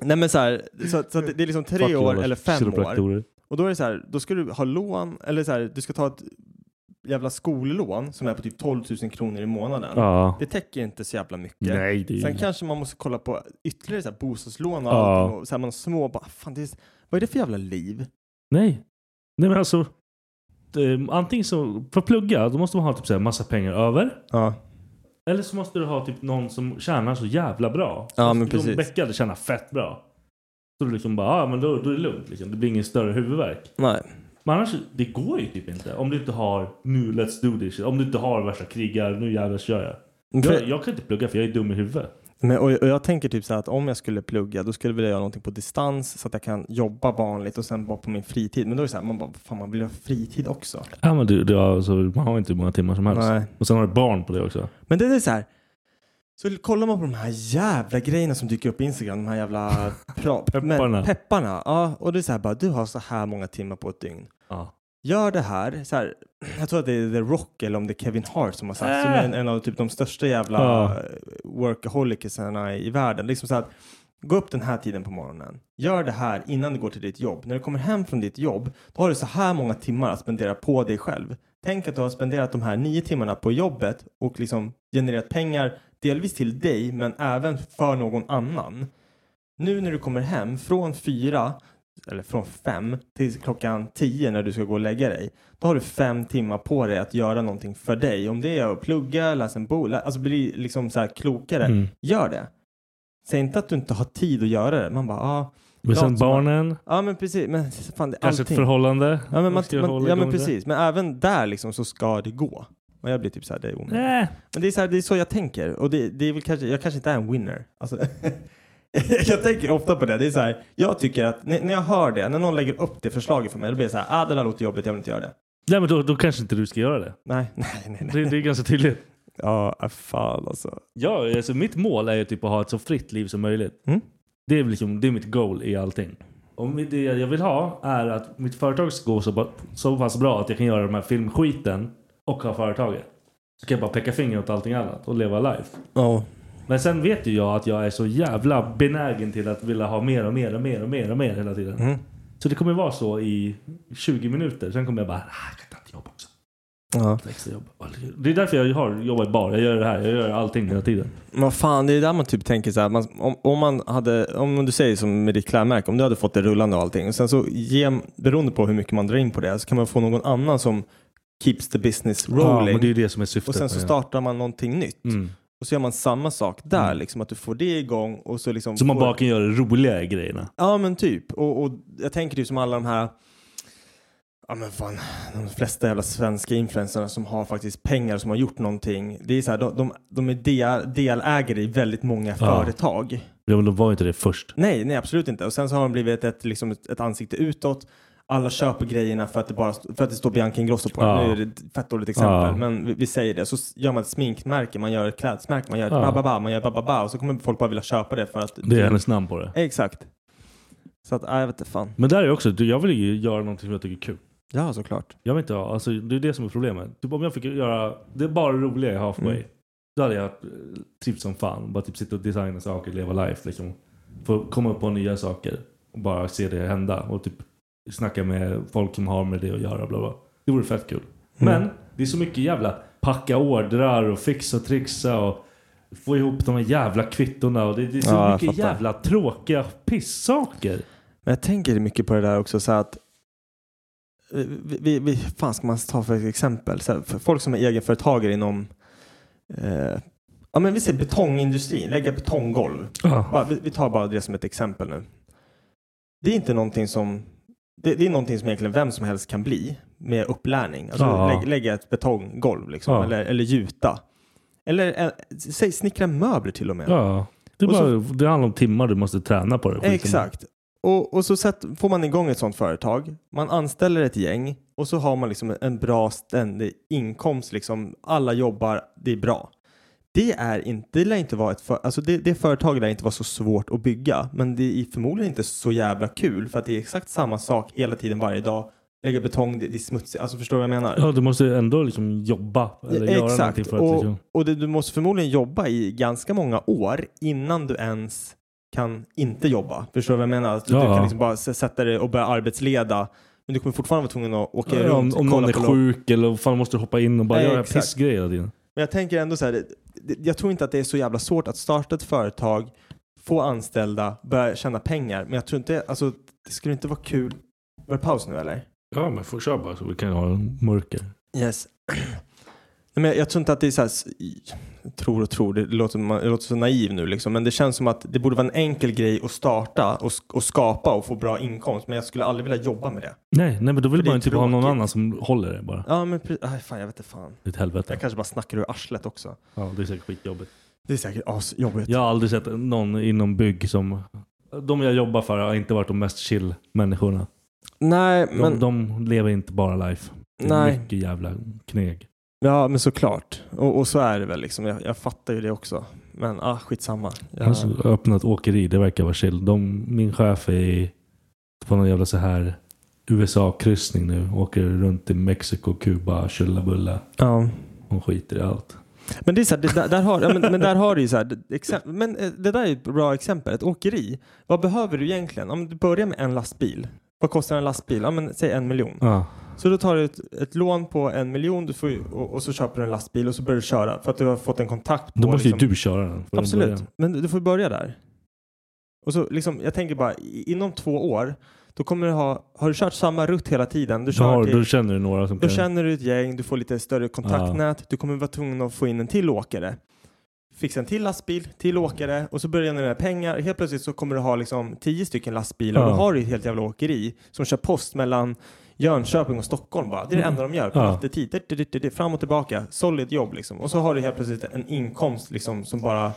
Speaker 4: Nej men så här, så, så att det, det är liksom
Speaker 1: Fuck
Speaker 4: tre
Speaker 1: you,
Speaker 4: år
Speaker 1: alla
Speaker 4: eller fem år.
Speaker 1: kiropraktorer.
Speaker 4: Och då är det så här, då ska du ha lån, eller så här, du ska ta ett jävla skollån som är på typ 12 000 kronor i månaden.
Speaker 1: Ja.
Speaker 4: Det täcker inte så jävla mycket.
Speaker 1: Nej, det är
Speaker 4: Sen
Speaker 1: ju-
Speaker 4: kanske man måste kolla på ytterligare så här bostadslån och
Speaker 1: Ja.
Speaker 4: allting. Och så här, man har små, bara, fan, det är, vad är det för jävla liv?
Speaker 1: Nej. Nej men alltså. Det, antingen så, för att plugga, då måste man ha typ så här massa pengar över.
Speaker 4: Ja.
Speaker 1: Eller så måste du ha typ någon som tjänar så jävla bra.
Speaker 4: Ja,
Speaker 1: Alltså,
Speaker 4: men precis.
Speaker 1: De bäckade tjänar fett bra. Så du liksom bara, ja men då, då är det lugnt liksom. Det blir ingen större huvudvärk.
Speaker 4: Nej.
Speaker 1: Men annars, det går ju typ inte. Om du inte har, nu let's do this. Om du inte har värsta krigar, nu jävlar kör jag. Jag, jag kan inte plugga för jag är dum i huvudet.
Speaker 4: Men, och, och jag tänker typ så här att om jag skulle plugga då skulle jag vilja göra någonting på distans så att jag kan jobba vanligt och sen bara på min fritid. Men då är det så här, man bara, fan man vill ha fritid också.
Speaker 1: Ja men du, du har, alltså, man har inte hur många timmar som helst.
Speaker 4: Nej.
Speaker 1: Och sen har du barn på det också.
Speaker 4: Men det är så här, så kollar man på de här jävla grejerna som dyker upp på Instagram, de här jävla pra-
Speaker 1: Pepparna.
Speaker 4: Men, pepparna. Ja, och det är så här bara, du har så här många timmar på ett dygn.
Speaker 1: Ja.
Speaker 4: Gör det här, så här, jag tror att det är The Rock eller om det är Kevin Hart som har sagt, som
Speaker 1: Äh.
Speaker 4: är en, en av typ de största jävla
Speaker 1: Ja.
Speaker 4: ja. workaholicsarna i, i världen. Liksom så här, gå upp den här tiden på morgonen, gör det här innan du går till ditt jobb. När du kommer hem från ditt jobb, då har du så här många timmar att spendera på dig själv. Tänk att du har spenderat de här nio timmarna på jobbet och liksom genererat pengar, delvis till dig, men även för någon annan. Nu när du kommer hem från fyra, eller från fem till klockan tio när du ska gå och lägga dig, då har du fem timmar på dig att göra någonting för dig. Om det är att plugga, läsa en bok, lä- alltså bli liksom så här klokare.
Speaker 1: Mm.
Speaker 4: Gör det. Säg inte att du inte har tid att göra det. Man bara, ah,
Speaker 1: Men sen
Speaker 4: Lat som man-
Speaker 1: barnen.
Speaker 4: ja men precis, men fan det är
Speaker 1: Kanske
Speaker 4: allting.
Speaker 1: ett förhållande.
Speaker 4: Ja men, man,
Speaker 1: ska
Speaker 4: man,
Speaker 1: hålla
Speaker 4: ja,
Speaker 1: igång
Speaker 4: men
Speaker 1: det.
Speaker 4: precis, men även där liksom så ska det gå. Och jag blir typ såhär, det är omöjligt.
Speaker 1: Nej.
Speaker 4: Men det är, så här, det är så jag tänker och det, det är väl kanske, jag kanske inte är en winner. Alltså, jag tänker ofta på det. det är så här, jag tycker att när, när jag hör det, när någon lägger upp det förslaget för mig, då blir det så här, ah det där låter jobbigt, jag vill inte göra det.
Speaker 1: Nej men då, då kanske inte du ska göra det.
Speaker 4: Nej, nej, nej. nej.
Speaker 1: Det, det är ganska tydligt.
Speaker 4: Ja, ah, fan alltså.
Speaker 1: Ja, alltså mitt mål är ju typ att ha ett så fritt liv som möjligt.
Speaker 4: Mm.
Speaker 1: Det, är väl liksom, det är mitt goal i allting. Om det jag vill ha är att mitt företag ska gå så, ba- så pass bra att jag kan göra de här filmskiten och ha företaget. Så kan jag bara peka finger åt allting annat och leva life.
Speaker 4: Ja.
Speaker 1: Men sen vet ju jag att jag är så jävla benägen till att vilja ha mer och mer och mer och mer och mer hela tiden.
Speaker 4: Mm.
Speaker 1: Så det kommer vara så i 20 minuter. Sen kommer jag bara, ah, jag kan ta ett jobb också.
Speaker 4: Ja.
Speaker 1: Ett extra jobb. Det är därför jag har, jobbar i bar. Jag gör det här. Jag gör allting hela tiden.
Speaker 4: Men vad fan, det är där man typ tänker så här, man, om, om man hade, om du säger som med ditt klädmärke, om du hade fått det rullande och allting, och sen så ge, beroende på hur mycket man drar in på det, så kan man få någon annan som keeps the business
Speaker 1: Ja,
Speaker 4: rolling.
Speaker 1: men det är ju det som är syftet.
Speaker 4: och sen så
Speaker 1: med det.
Speaker 4: startar man någonting nytt.
Speaker 1: Mm.
Speaker 4: Och så gör man samma sak där,
Speaker 1: Mm.
Speaker 4: liksom att du får det igång och så liksom...
Speaker 1: Så man
Speaker 4: får-
Speaker 1: bara kan göra roliga grejerna.
Speaker 4: Ja men typ. Och, och jag tänker typ som alla de här, ja men fan, de flesta jävla svenska influencerna som har faktiskt pengar som har gjort någonting. Det är så här, de, de, de är del, delägare i väldigt många företag.
Speaker 1: Ja, men de var ju inte det först.
Speaker 4: Nej, nej absolut inte. Och sen så har de blivit ett, liksom ett, ett ansikte utåt. Alla köper grejerna för att det, bara, st- för att det står Bianca Ingrosso på
Speaker 1: Ja.
Speaker 4: den. Nu är det ett fett dåligt exempel,
Speaker 1: Ja.
Speaker 4: men vi, vi säger det. Så s- gör man ett sminkmärke, man gör ett klädesmärke, man gör ett
Speaker 1: Ja.
Speaker 4: bababa, man gör bababa och så kommer folk bara vilja köpa det för att...
Speaker 1: Det är hennes namn på det.
Speaker 4: Exakt. Så att, nej, jag vet inte fan.
Speaker 1: Men där är också, du, jag vill ju göra någonting som jag tycker är kul.
Speaker 4: Ja, såklart.
Speaker 1: Jag vet inte, ha- alltså, det är det som är problemet. Typ om jag fick göra, det är bara roliga i halfway.
Speaker 4: Mm.
Speaker 1: Då hade jag eh, trivts som fan. Bara typ sitta och designa saker, leva life liksom. Få komma på nya saker. Och bara se det hända. Och typ snacka med folk som har med det att göra. Bla bla. Det vore fett kul.
Speaker 4: Mm.
Speaker 1: Men det är så mycket jävla packa ordrar och fixa och trixa och få ihop de här jävla kvittorna. Och det, det är så
Speaker 4: Ja, jag
Speaker 1: mycket
Speaker 4: fattar.
Speaker 1: jävla tråkiga pissaker.
Speaker 4: Men jag tänker mycket på det där också så här att eh, vi, vi, vi fan ska man ta för ett exempel? Så här, för folk som är egenföretagare inom eh, ja men vi säger betongindustrin, lägga betonggolv.
Speaker 1: Ja.
Speaker 4: Bara, vi, vi tar bara det som ett exempel nu. Det är inte någonting som det, det är någonting som egentligen vem som helst kan bli med upplärning. Alltså
Speaker 1: Ja.
Speaker 4: lägg, lägga ett betonggolv liksom,
Speaker 1: Ja.
Speaker 4: eller, eller gjuta. Eller eh, säg snickra möbler till och med.
Speaker 1: Ja. Det, är
Speaker 4: Och så-
Speaker 1: bara, det handlar om timmar du måste träna på liksom- det. skiten.
Speaker 4: Exakt. Och, och så sätt, får man igång ett sånt företag. Man anställer ett gäng och så har man liksom en bra ständig inkomst. Liksom. Alla jobbar, det är bra. Det, är inte, det, lär inte vara ett för, alltså det, det företaget lär inte vara så svårt att bygga. Men det är förmodligen inte så jävla kul för att det är exakt samma sak hela tiden varje dag. Lägga betong, det, det är smutsigt. Alltså förstår du vad jag menar?
Speaker 1: Ja, du måste ändå liksom jobba. Eller göra någonting för att
Speaker 4: och,
Speaker 1: liksom...
Speaker 4: och det, du måste förmodligen jobba i ganska många år innan du ens kan inte jobba. Förstår du vad jag menar? Att du, du
Speaker 1: Ja.
Speaker 4: kan liksom bara s- sätta dig och börja arbetsleda. Men du kommer fortfarande vara tvungen att åka
Speaker 1: Ja, om,
Speaker 4: runt.
Speaker 1: om någon
Speaker 4: kolla
Speaker 1: är
Speaker 4: på lo-
Speaker 1: sjuk eller fan måste du hoppa in och bara
Speaker 4: Nej,
Speaker 1: göra
Speaker 4: exakt.
Speaker 1: pissgrejer hela tiden.
Speaker 4: Men jag tänker ändå så här. det- det- Jag tror inte att det är så jävla svårt att starta ett företag, få anställda, börja tjäna pengar. Men jag tror inte, alltså det skulle inte vara kul. Var det paus nu eller?
Speaker 1: Ja, men får köra bara så vi kan ha en mörker.
Speaker 4: Yes. Nej, Men jag tror inte att det är så här, s- i- tror och tror, det låter, man, det låter så naiv nu liksom, men det känns som att det borde vara en enkel grej att starta och, sk- och skapa och få bra inkomst, men jag skulle aldrig vilja jobba med det.
Speaker 1: Nej, nej, men då
Speaker 4: För
Speaker 1: vill
Speaker 4: det är
Speaker 1: man ju typ ha någon
Speaker 4: tråkigt.
Speaker 1: annan som håller det bara.
Speaker 4: Ja, men pre- aj, fan, jag vet inte fan.
Speaker 1: Ditt helvete.
Speaker 4: Jag kanske bara snackar ur arslet också.
Speaker 1: Ja, det är säkert skitjobbigt.
Speaker 4: Det är säkert asjobbigt.
Speaker 1: Jag har aldrig sett någon inom bygg som... De jag jobbar för har inte varit de mest chill människorna.
Speaker 4: Nej,
Speaker 1: De,
Speaker 4: men,
Speaker 1: de lever inte bara life. Det är
Speaker 4: Nej.
Speaker 1: mycket jävla kneg.
Speaker 4: ja, men såklart. Och, och så är det väl liksom. Jag, jag fattar ju det också. Men ah, skitsamma. Jag,
Speaker 1: Han som Alltså, öppnat ett åkeri, det verkar vara chill. De, min chef är i- på någon jävla så här USA-kryssning nu. Åker runt i Mexiko, Kuba, Chullabulla.
Speaker 4: ja.
Speaker 1: Hon skiter i allt.
Speaker 4: Men det är så här, det, där, där har, ja, men, men där har du ju så här, det- exem- men eh, det där är ett bra exempel, ett åkeri. Vad behöver du egentligen? Om du börjar med en lastbil, vad kostar en lastbil? Ja, men, säg en miljon.
Speaker 1: Ja.
Speaker 4: Så då tar du ett, ett lån på en miljon du får, ju- och, och så köper du en lastbil och så börjar du köra för att du har fått en kontakt. På,
Speaker 1: Då måste ju
Speaker 4: liksom-
Speaker 1: du köra den. från
Speaker 4: Absolut,
Speaker 1: början.
Speaker 4: men du får börja där. Och så liksom, jag tänker bara, i- inom två år, då kommer du ha, har du kört samma rutt hela tiden? Du
Speaker 1: Då,
Speaker 4: kör
Speaker 1: har,
Speaker 4: till,
Speaker 1: då känner du några som
Speaker 4: då
Speaker 1: kan...
Speaker 4: känner du ett gäng, du får lite större kontaktnät, du kommer vara tvungen att få in en till åkare. Fixa en till lastbil, till
Speaker 1: Mm.
Speaker 4: åkare och så börjar du generera pengar. Helt plötsligt så kommer du ha liksom tio stycken lastbilar och
Speaker 1: Ja.
Speaker 4: då har du ett helt jävla åkeri som kör post mellan Jönköping och Stockholm bara. Det är det enda de gör på
Speaker 1: Mm. Ja.
Speaker 4: nattetid. Det- det- det- det- Fram och tillbaka. Solid jobb liksom. Och så har du helt plötsligt en inkomst liksom som bara...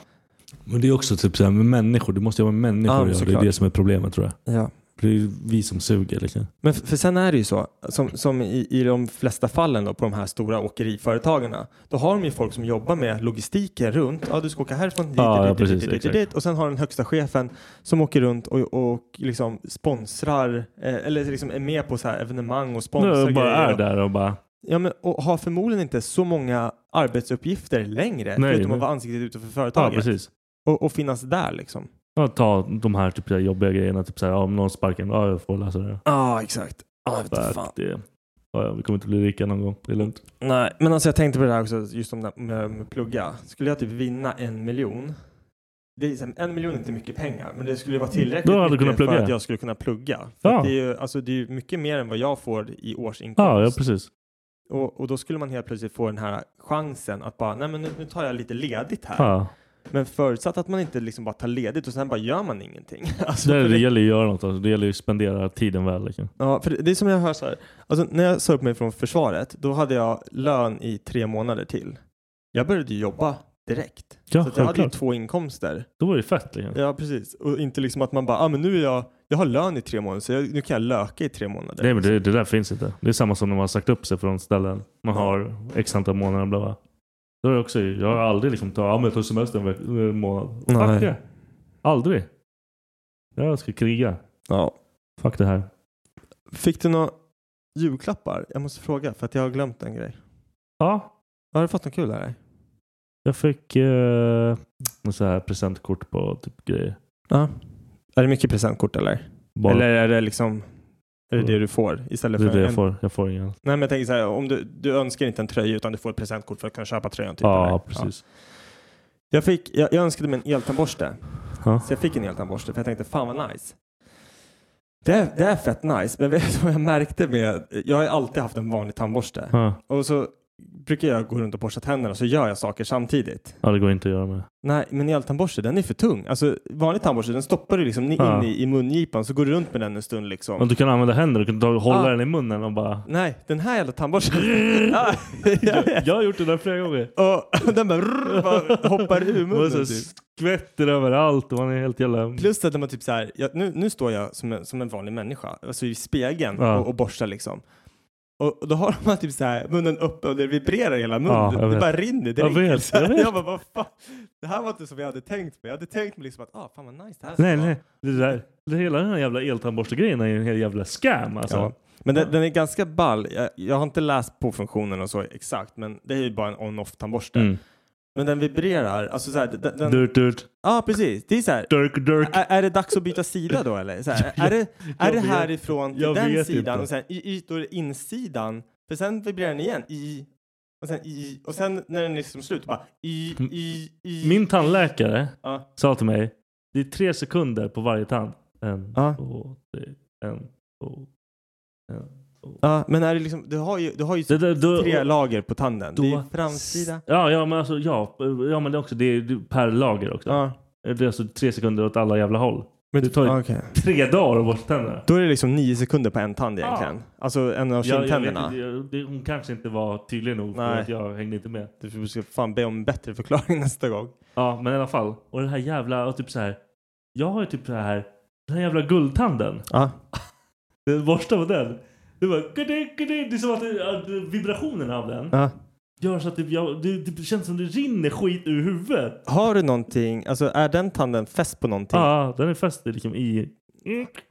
Speaker 1: Men det är också typ så här med människor. Du måste ju vara med människor
Speaker 4: Ja,
Speaker 1: att göra. Det är
Speaker 4: såklart.
Speaker 1: det som är problemet tror jag.
Speaker 4: Ja.
Speaker 1: För det är ju vi som suger liksom.
Speaker 4: Men f- för sen är det ju så, som, som i, i de flesta fallen då, på de här stora åkeriföretagen, då har de ju folk som jobbar med logistiken runt. Ja, du ska åka härifrån dit,
Speaker 1: Ja,
Speaker 4: dit,
Speaker 1: ja,
Speaker 4: dit,
Speaker 1: precis,
Speaker 4: dit, dit, dit,
Speaker 1: exakt.
Speaker 4: dit. Och sen har den högsta chefen som åker runt och, och liksom sponsrar, eh, eller liksom är med på så här evenemang och sponsrar
Speaker 1: Nu bara
Speaker 4: grejer.
Speaker 1: är där och bara...
Speaker 4: Ja, men, och har förmodligen inte så många arbetsuppgifter längre,
Speaker 1: Nej,
Speaker 4: förutom
Speaker 1: men-
Speaker 4: att vara ansiktet ute för
Speaker 1: Ja,
Speaker 4: företaget.
Speaker 1: precis.
Speaker 4: och, och finnas där liksom.
Speaker 1: Ja, ta de här typ så här jobbiga grejerna. Typ så här, ja, om någon sparkar en, ja jag får lösa det.
Speaker 4: Ja, exakt. Ja,
Speaker 1: Fuck det. Ja, ja, vi kommer inte bli rika någon gång. Det är lugnt.
Speaker 4: Nej, men alltså jag tänkte på det här också, just om det här med, med plugga. Skulle jag typ vinna en miljon, det är, så här, en miljon är inte mycket pengar, men det skulle vara tillräckligt
Speaker 1: Då hade du
Speaker 4: mycket
Speaker 1: kunnat plugga.
Speaker 4: för att jag skulle kunna plugga. För
Speaker 1: Ja.
Speaker 4: att det, är ju, alltså, det är ju mycket mer än vad jag får i
Speaker 1: Ja, ja
Speaker 4: årsinkomst.
Speaker 1: precis.
Speaker 4: och, och då skulle man helt plötsligt få den här chansen att bara, nej men nu, nu tar jag lite ledigt här.
Speaker 1: Ja.
Speaker 4: Men förutsatt att man inte liksom bara tar ledigt och sen bara gör man ingenting. Alltså,
Speaker 1: det,
Speaker 4: för
Speaker 1: det gäller ju att göra något. Alltså. Det gäller ju att spendera tiden väl. Liksom.
Speaker 4: Ja, för det, det är som jag hör så här. Alltså, när jag sa upp mig från försvaret, då hade jag lön i tre månader till. Jag började ju jobba direkt.
Speaker 1: Ja,
Speaker 4: så att jag hade ju
Speaker 1: självklart.
Speaker 4: två inkomster.
Speaker 1: Då var det ju fett. Liksom.
Speaker 4: Ja, precis. Och inte liksom att man bara, ah, men nu är jag, jag har lön i tre månader, så jag, nu kan jag löka i tre månader.
Speaker 1: Nej, men det, det där finns inte. Det är samma som när man har sagt upp sig från ställen. Man har x antal månader. Bla bla. Då är det också, jag har aldrig liksom tagit ja, men jag tar semester en, veck- en månad.
Speaker 4: Nej.
Speaker 1: Fuck det. Aldrig. Jag ska kriga.
Speaker 4: Ja.
Speaker 1: Fuck det här.
Speaker 4: Fick du några julklappar? Jag måste fråga, för att jag har glömt en grej.
Speaker 1: Ja,
Speaker 4: Har du fått något kul där?
Speaker 1: jag fick eh, så här presentkort på typ grejer.
Speaker 4: Ja. Är det mycket presentkort eller?
Speaker 1: Bara
Speaker 4: Eller är det liksom Är det det du får? Istället
Speaker 1: Det är
Speaker 4: för
Speaker 1: det jag
Speaker 4: en...
Speaker 1: får. Jag får inga.
Speaker 4: Nej, men jag tänker så här, om du, du önskar inte en tröja utan du får ett presentkort för att kunna köpa tröjan. Typ,
Speaker 1: Ja,
Speaker 4: eller?
Speaker 1: precis.
Speaker 4: Jag, fick, jag, jag önskade mig en eltandborste.
Speaker 1: Ja.
Speaker 4: Så jag fick en eltandborste för jag tänkte fan vad nice. Det är, det är fett nice, men vet du vad jag märkte med... Jag har ju alltid haft en vanlig tandborste.
Speaker 1: Ja.
Speaker 4: Och så brukar jag gå runt och borsta tänderna och så gör jag saker samtidigt.
Speaker 1: ja, det går inte att göra med.
Speaker 4: Nej, men eltandborste den är för tung. Alltså vanlig tandborste den stoppar du liksom
Speaker 1: Ja.
Speaker 4: in i, i mungipan så går du runt med den en stund liksom.
Speaker 1: Men du kan använda händer, du kan ta, hålla
Speaker 4: Ja.
Speaker 1: den i munnen och bara...
Speaker 4: Nej, den här jävla tandborsten. Ja, ja, ja.
Speaker 1: Jag har gjort det där flera gånger.
Speaker 4: och den bara, rrr, bara hoppar ur
Speaker 1: Och så
Speaker 4: munnen. Typ.
Speaker 1: skvätter överallt och man är helt jävla...
Speaker 4: Plus att när man typ så här, ja, nu, nu står jag som en, som en vanlig människa, alltså i spegeln
Speaker 1: Ja.
Speaker 4: och, och borstar liksom. Och och då har man typ så här munnen öppen och det vibrerar i hela munnen.
Speaker 1: Ja, jag
Speaker 4: det
Speaker 1: vet.
Speaker 4: bara rinner direkt.
Speaker 1: Jag vet,
Speaker 4: Så här,
Speaker 1: jag vet.
Speaker 4: bara, vad fan? Det här var inte som jag hade tänkt mig. Jag hade tänkt mig liksom att, ah, fan vad nice det här ska
Speaker 1: Nej,
Speaker 4: vara.
Speaker 1: nej. Det där, det hela den här jävla eltandborstegrejen är ju en hel jävla scam alltså.
Speaker 4: Ja. Men den, den är ganska ball. Jag, jag har inte läst på funktionen och så exakt, men det är ju bara en on-off tandborste.
Speaker 1: Mm.
Speaker 4: Men den vibrerar. Alltså så här, den, den,
Speaker 1: Durt, durt,
Speaker 4: Ja, precis. Det är så här.
Speaker 1: durk, durk.
Speaker 4: Är, är det dags att byta sida då eller? Så här,
Speaker 1: Jag-
Speaker 4: är det, är det
Speaker 1: vet-
Speaker 4: härifrån till
Speaker 1: jag
Speaker 4: den
Speaker 1: vet
Speaker 4: sidan
Speaker 1: inte.
Speaker 4: och sen i ytor insidan? För sen vibrerar den igen. I, och sen i, och sen när den är liksom slut bara i, i, i.
Speaker 1: Min tandläkare
Speaker 4: Ja.
Speaker 1: sa till mig, det är tre sekunder på varje tand. En,
Speaker 4: Ja.
Speaker 1: två, tre, en, två, en, två.
Speaker 4: Ja, men är det liksom, du har ju, du har ju
Speaker 1: Det där- då-
Speaker 4: tre lager på tanden. det är
Speaker 1: då-
Speaker 4: ju framsida.
Speaker 1: Ja, ja, men alltså, ja, ja, men det är också, det är per lager också.
Speaker 4: Ja.
Speaker 1: Det är alltså tre sekunder åt alla jävla håll. Men det tar ju
Speaker 4: Ja, okej.
Speaker 1: tre dagar att borsta tänderna.
Speaker 4: Då är det liksom nio sekunder på en tand egentligen. Alltså en av
Speaker 1: Jag, jag vet
Speaker 4: kindtänderna.
Speaker 1: inte, jag, det, hon kanske inte var tydlig nog för
Speaker 4: Nej.
Speaker 1: att jag hängde inte med.
Speaker 4: Du ska fan be om en bättre förklaring nästa gång.
Speaker 1: Ja, men i alla fall. Och den här jävla, och typ så här. Jag har ju typ så här, den här jävla guldtanden.
Speaker 4: Ja.
Speaker 1: Den borsta på den. Det bara, kudik, kudik. det är som att det, att vibrationen av den
Speaker 4: Ja.
Speaker 1: gör så att typ jag, det, det känns som det rinner skit ur huvudet.
Speaker 4: Har du någonting, alltså är den tanden fäst på någonting?
Speaker 1: Ja, den är fäst i liksom i...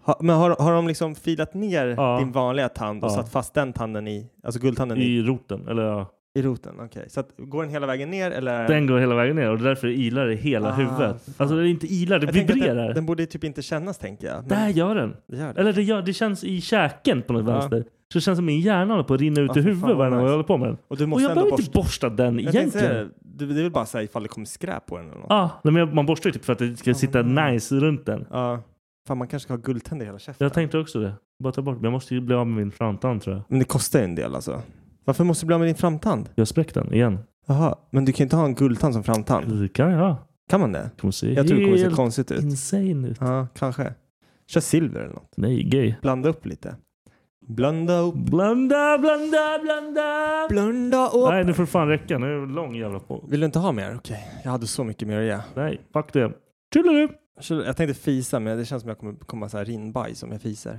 Speaker 4: Ha, men har, har de liksom filat ner
Speaker 1: Ja.
Speaker 4: din vanliga tand och
Speaker 1: Ja.
Speaker 4: satt fast den tanden i, alltså guldtanden i,
Speaker 1: I roten, eller ja.
Speaker 4: i roten? Okej, så att, går den hela vägen ner eller? är
Speaker 1: Den går hela vägen ner och det är därför det ilar i hela
Speaker 4: Ah,
Speaker 1: huvudet.
Speaker 4: fan.
Speaker 1: Alltså det är inte ilar, det
Speaker 4: Jag tänker att
Speaker 1: vibrerar.
Speaker 4: Den, den borde typ inte kännas tänker jag. Men
Speaker 1: Där gör den.
Speaker 4: det gör den.
Speaker 1: Eller det, gör, det känns i käken på något
Speaker 4: Ja.
Speaker 1: vänster. Så det känns som min hjärna håller på att rinna ut
Speaker 4: Ja,
Speaker 1: ur
Speaker 4: för fan
Speaker 1: huvudet
Speaker 4: vad
Speaker 1: varje gång jag
Speaker 4: nice.
Speaker 1: håller på med den.
Speaker 4: och du
Speaker 1: Och
Speaker 4: måste
Speaker 1: jag
Speaker 4: ändå
Speaker 1: behöver
Speaker 4: borsta.
Speaker 1: inte borsta den
Speaker 4: Jag tänkte säga
Speaker 1: egentligen.
Speaker 4: det. det, det är väl bara säga ifall det kommer skräp på den eller något.
Speaker 1: Ja, nej, men jag, man borstar ju typ för att det ska
Speaker 4: Ja,
Speaker 1: sitta
Speaker 4: men-
Speaker 1: nice runt den.
Speaker 4: Ja. Fan man kanske ska ha guldtänder i hela käften.
Speaker 1: Jag tänkte också det. Bara ta bort den. Jag måste ju bli av med min framtand tror jag.
Speaker 4: Men det kostar ju en del alltså. Varför måste du bli av med din framtand?
Speaker 1: Jag spräckte den igen.
Speaker 4: Jaha, men du kan ju inte ha en guldtand som framtand.
Speaker 1: Det kan jag.
Speaker 4: Kan man det?
Speaker 1: Kommer se
Speaker 4: Jag tror det kommer se
Speaker 1: helt
Speaker 4: konstigt ut.
Speaker 1: insane ut.
Speaker 4: Ja, kanske. Kör silver eller något.
Speaker 1: Nej, gay.
Speaker 4: Blanda upp lite. Blanda upp.
Speaker 1: Blanda, blanda, blanda!
Speaker 4: Blanda upp.
Speaker 1: Nej, nu får det fan räcka. Nu är det lång jävla på.
Speaker 4: Vill du inte ha mer? Okej, jag hade så mycket mer att ge.
Speaker 1: Nej, fuck det. Tjolilu!
Speaker 4: Kör- Jag tänkte fisa, men det känns som jag kommer komma så här rinnbajs om jag fiser.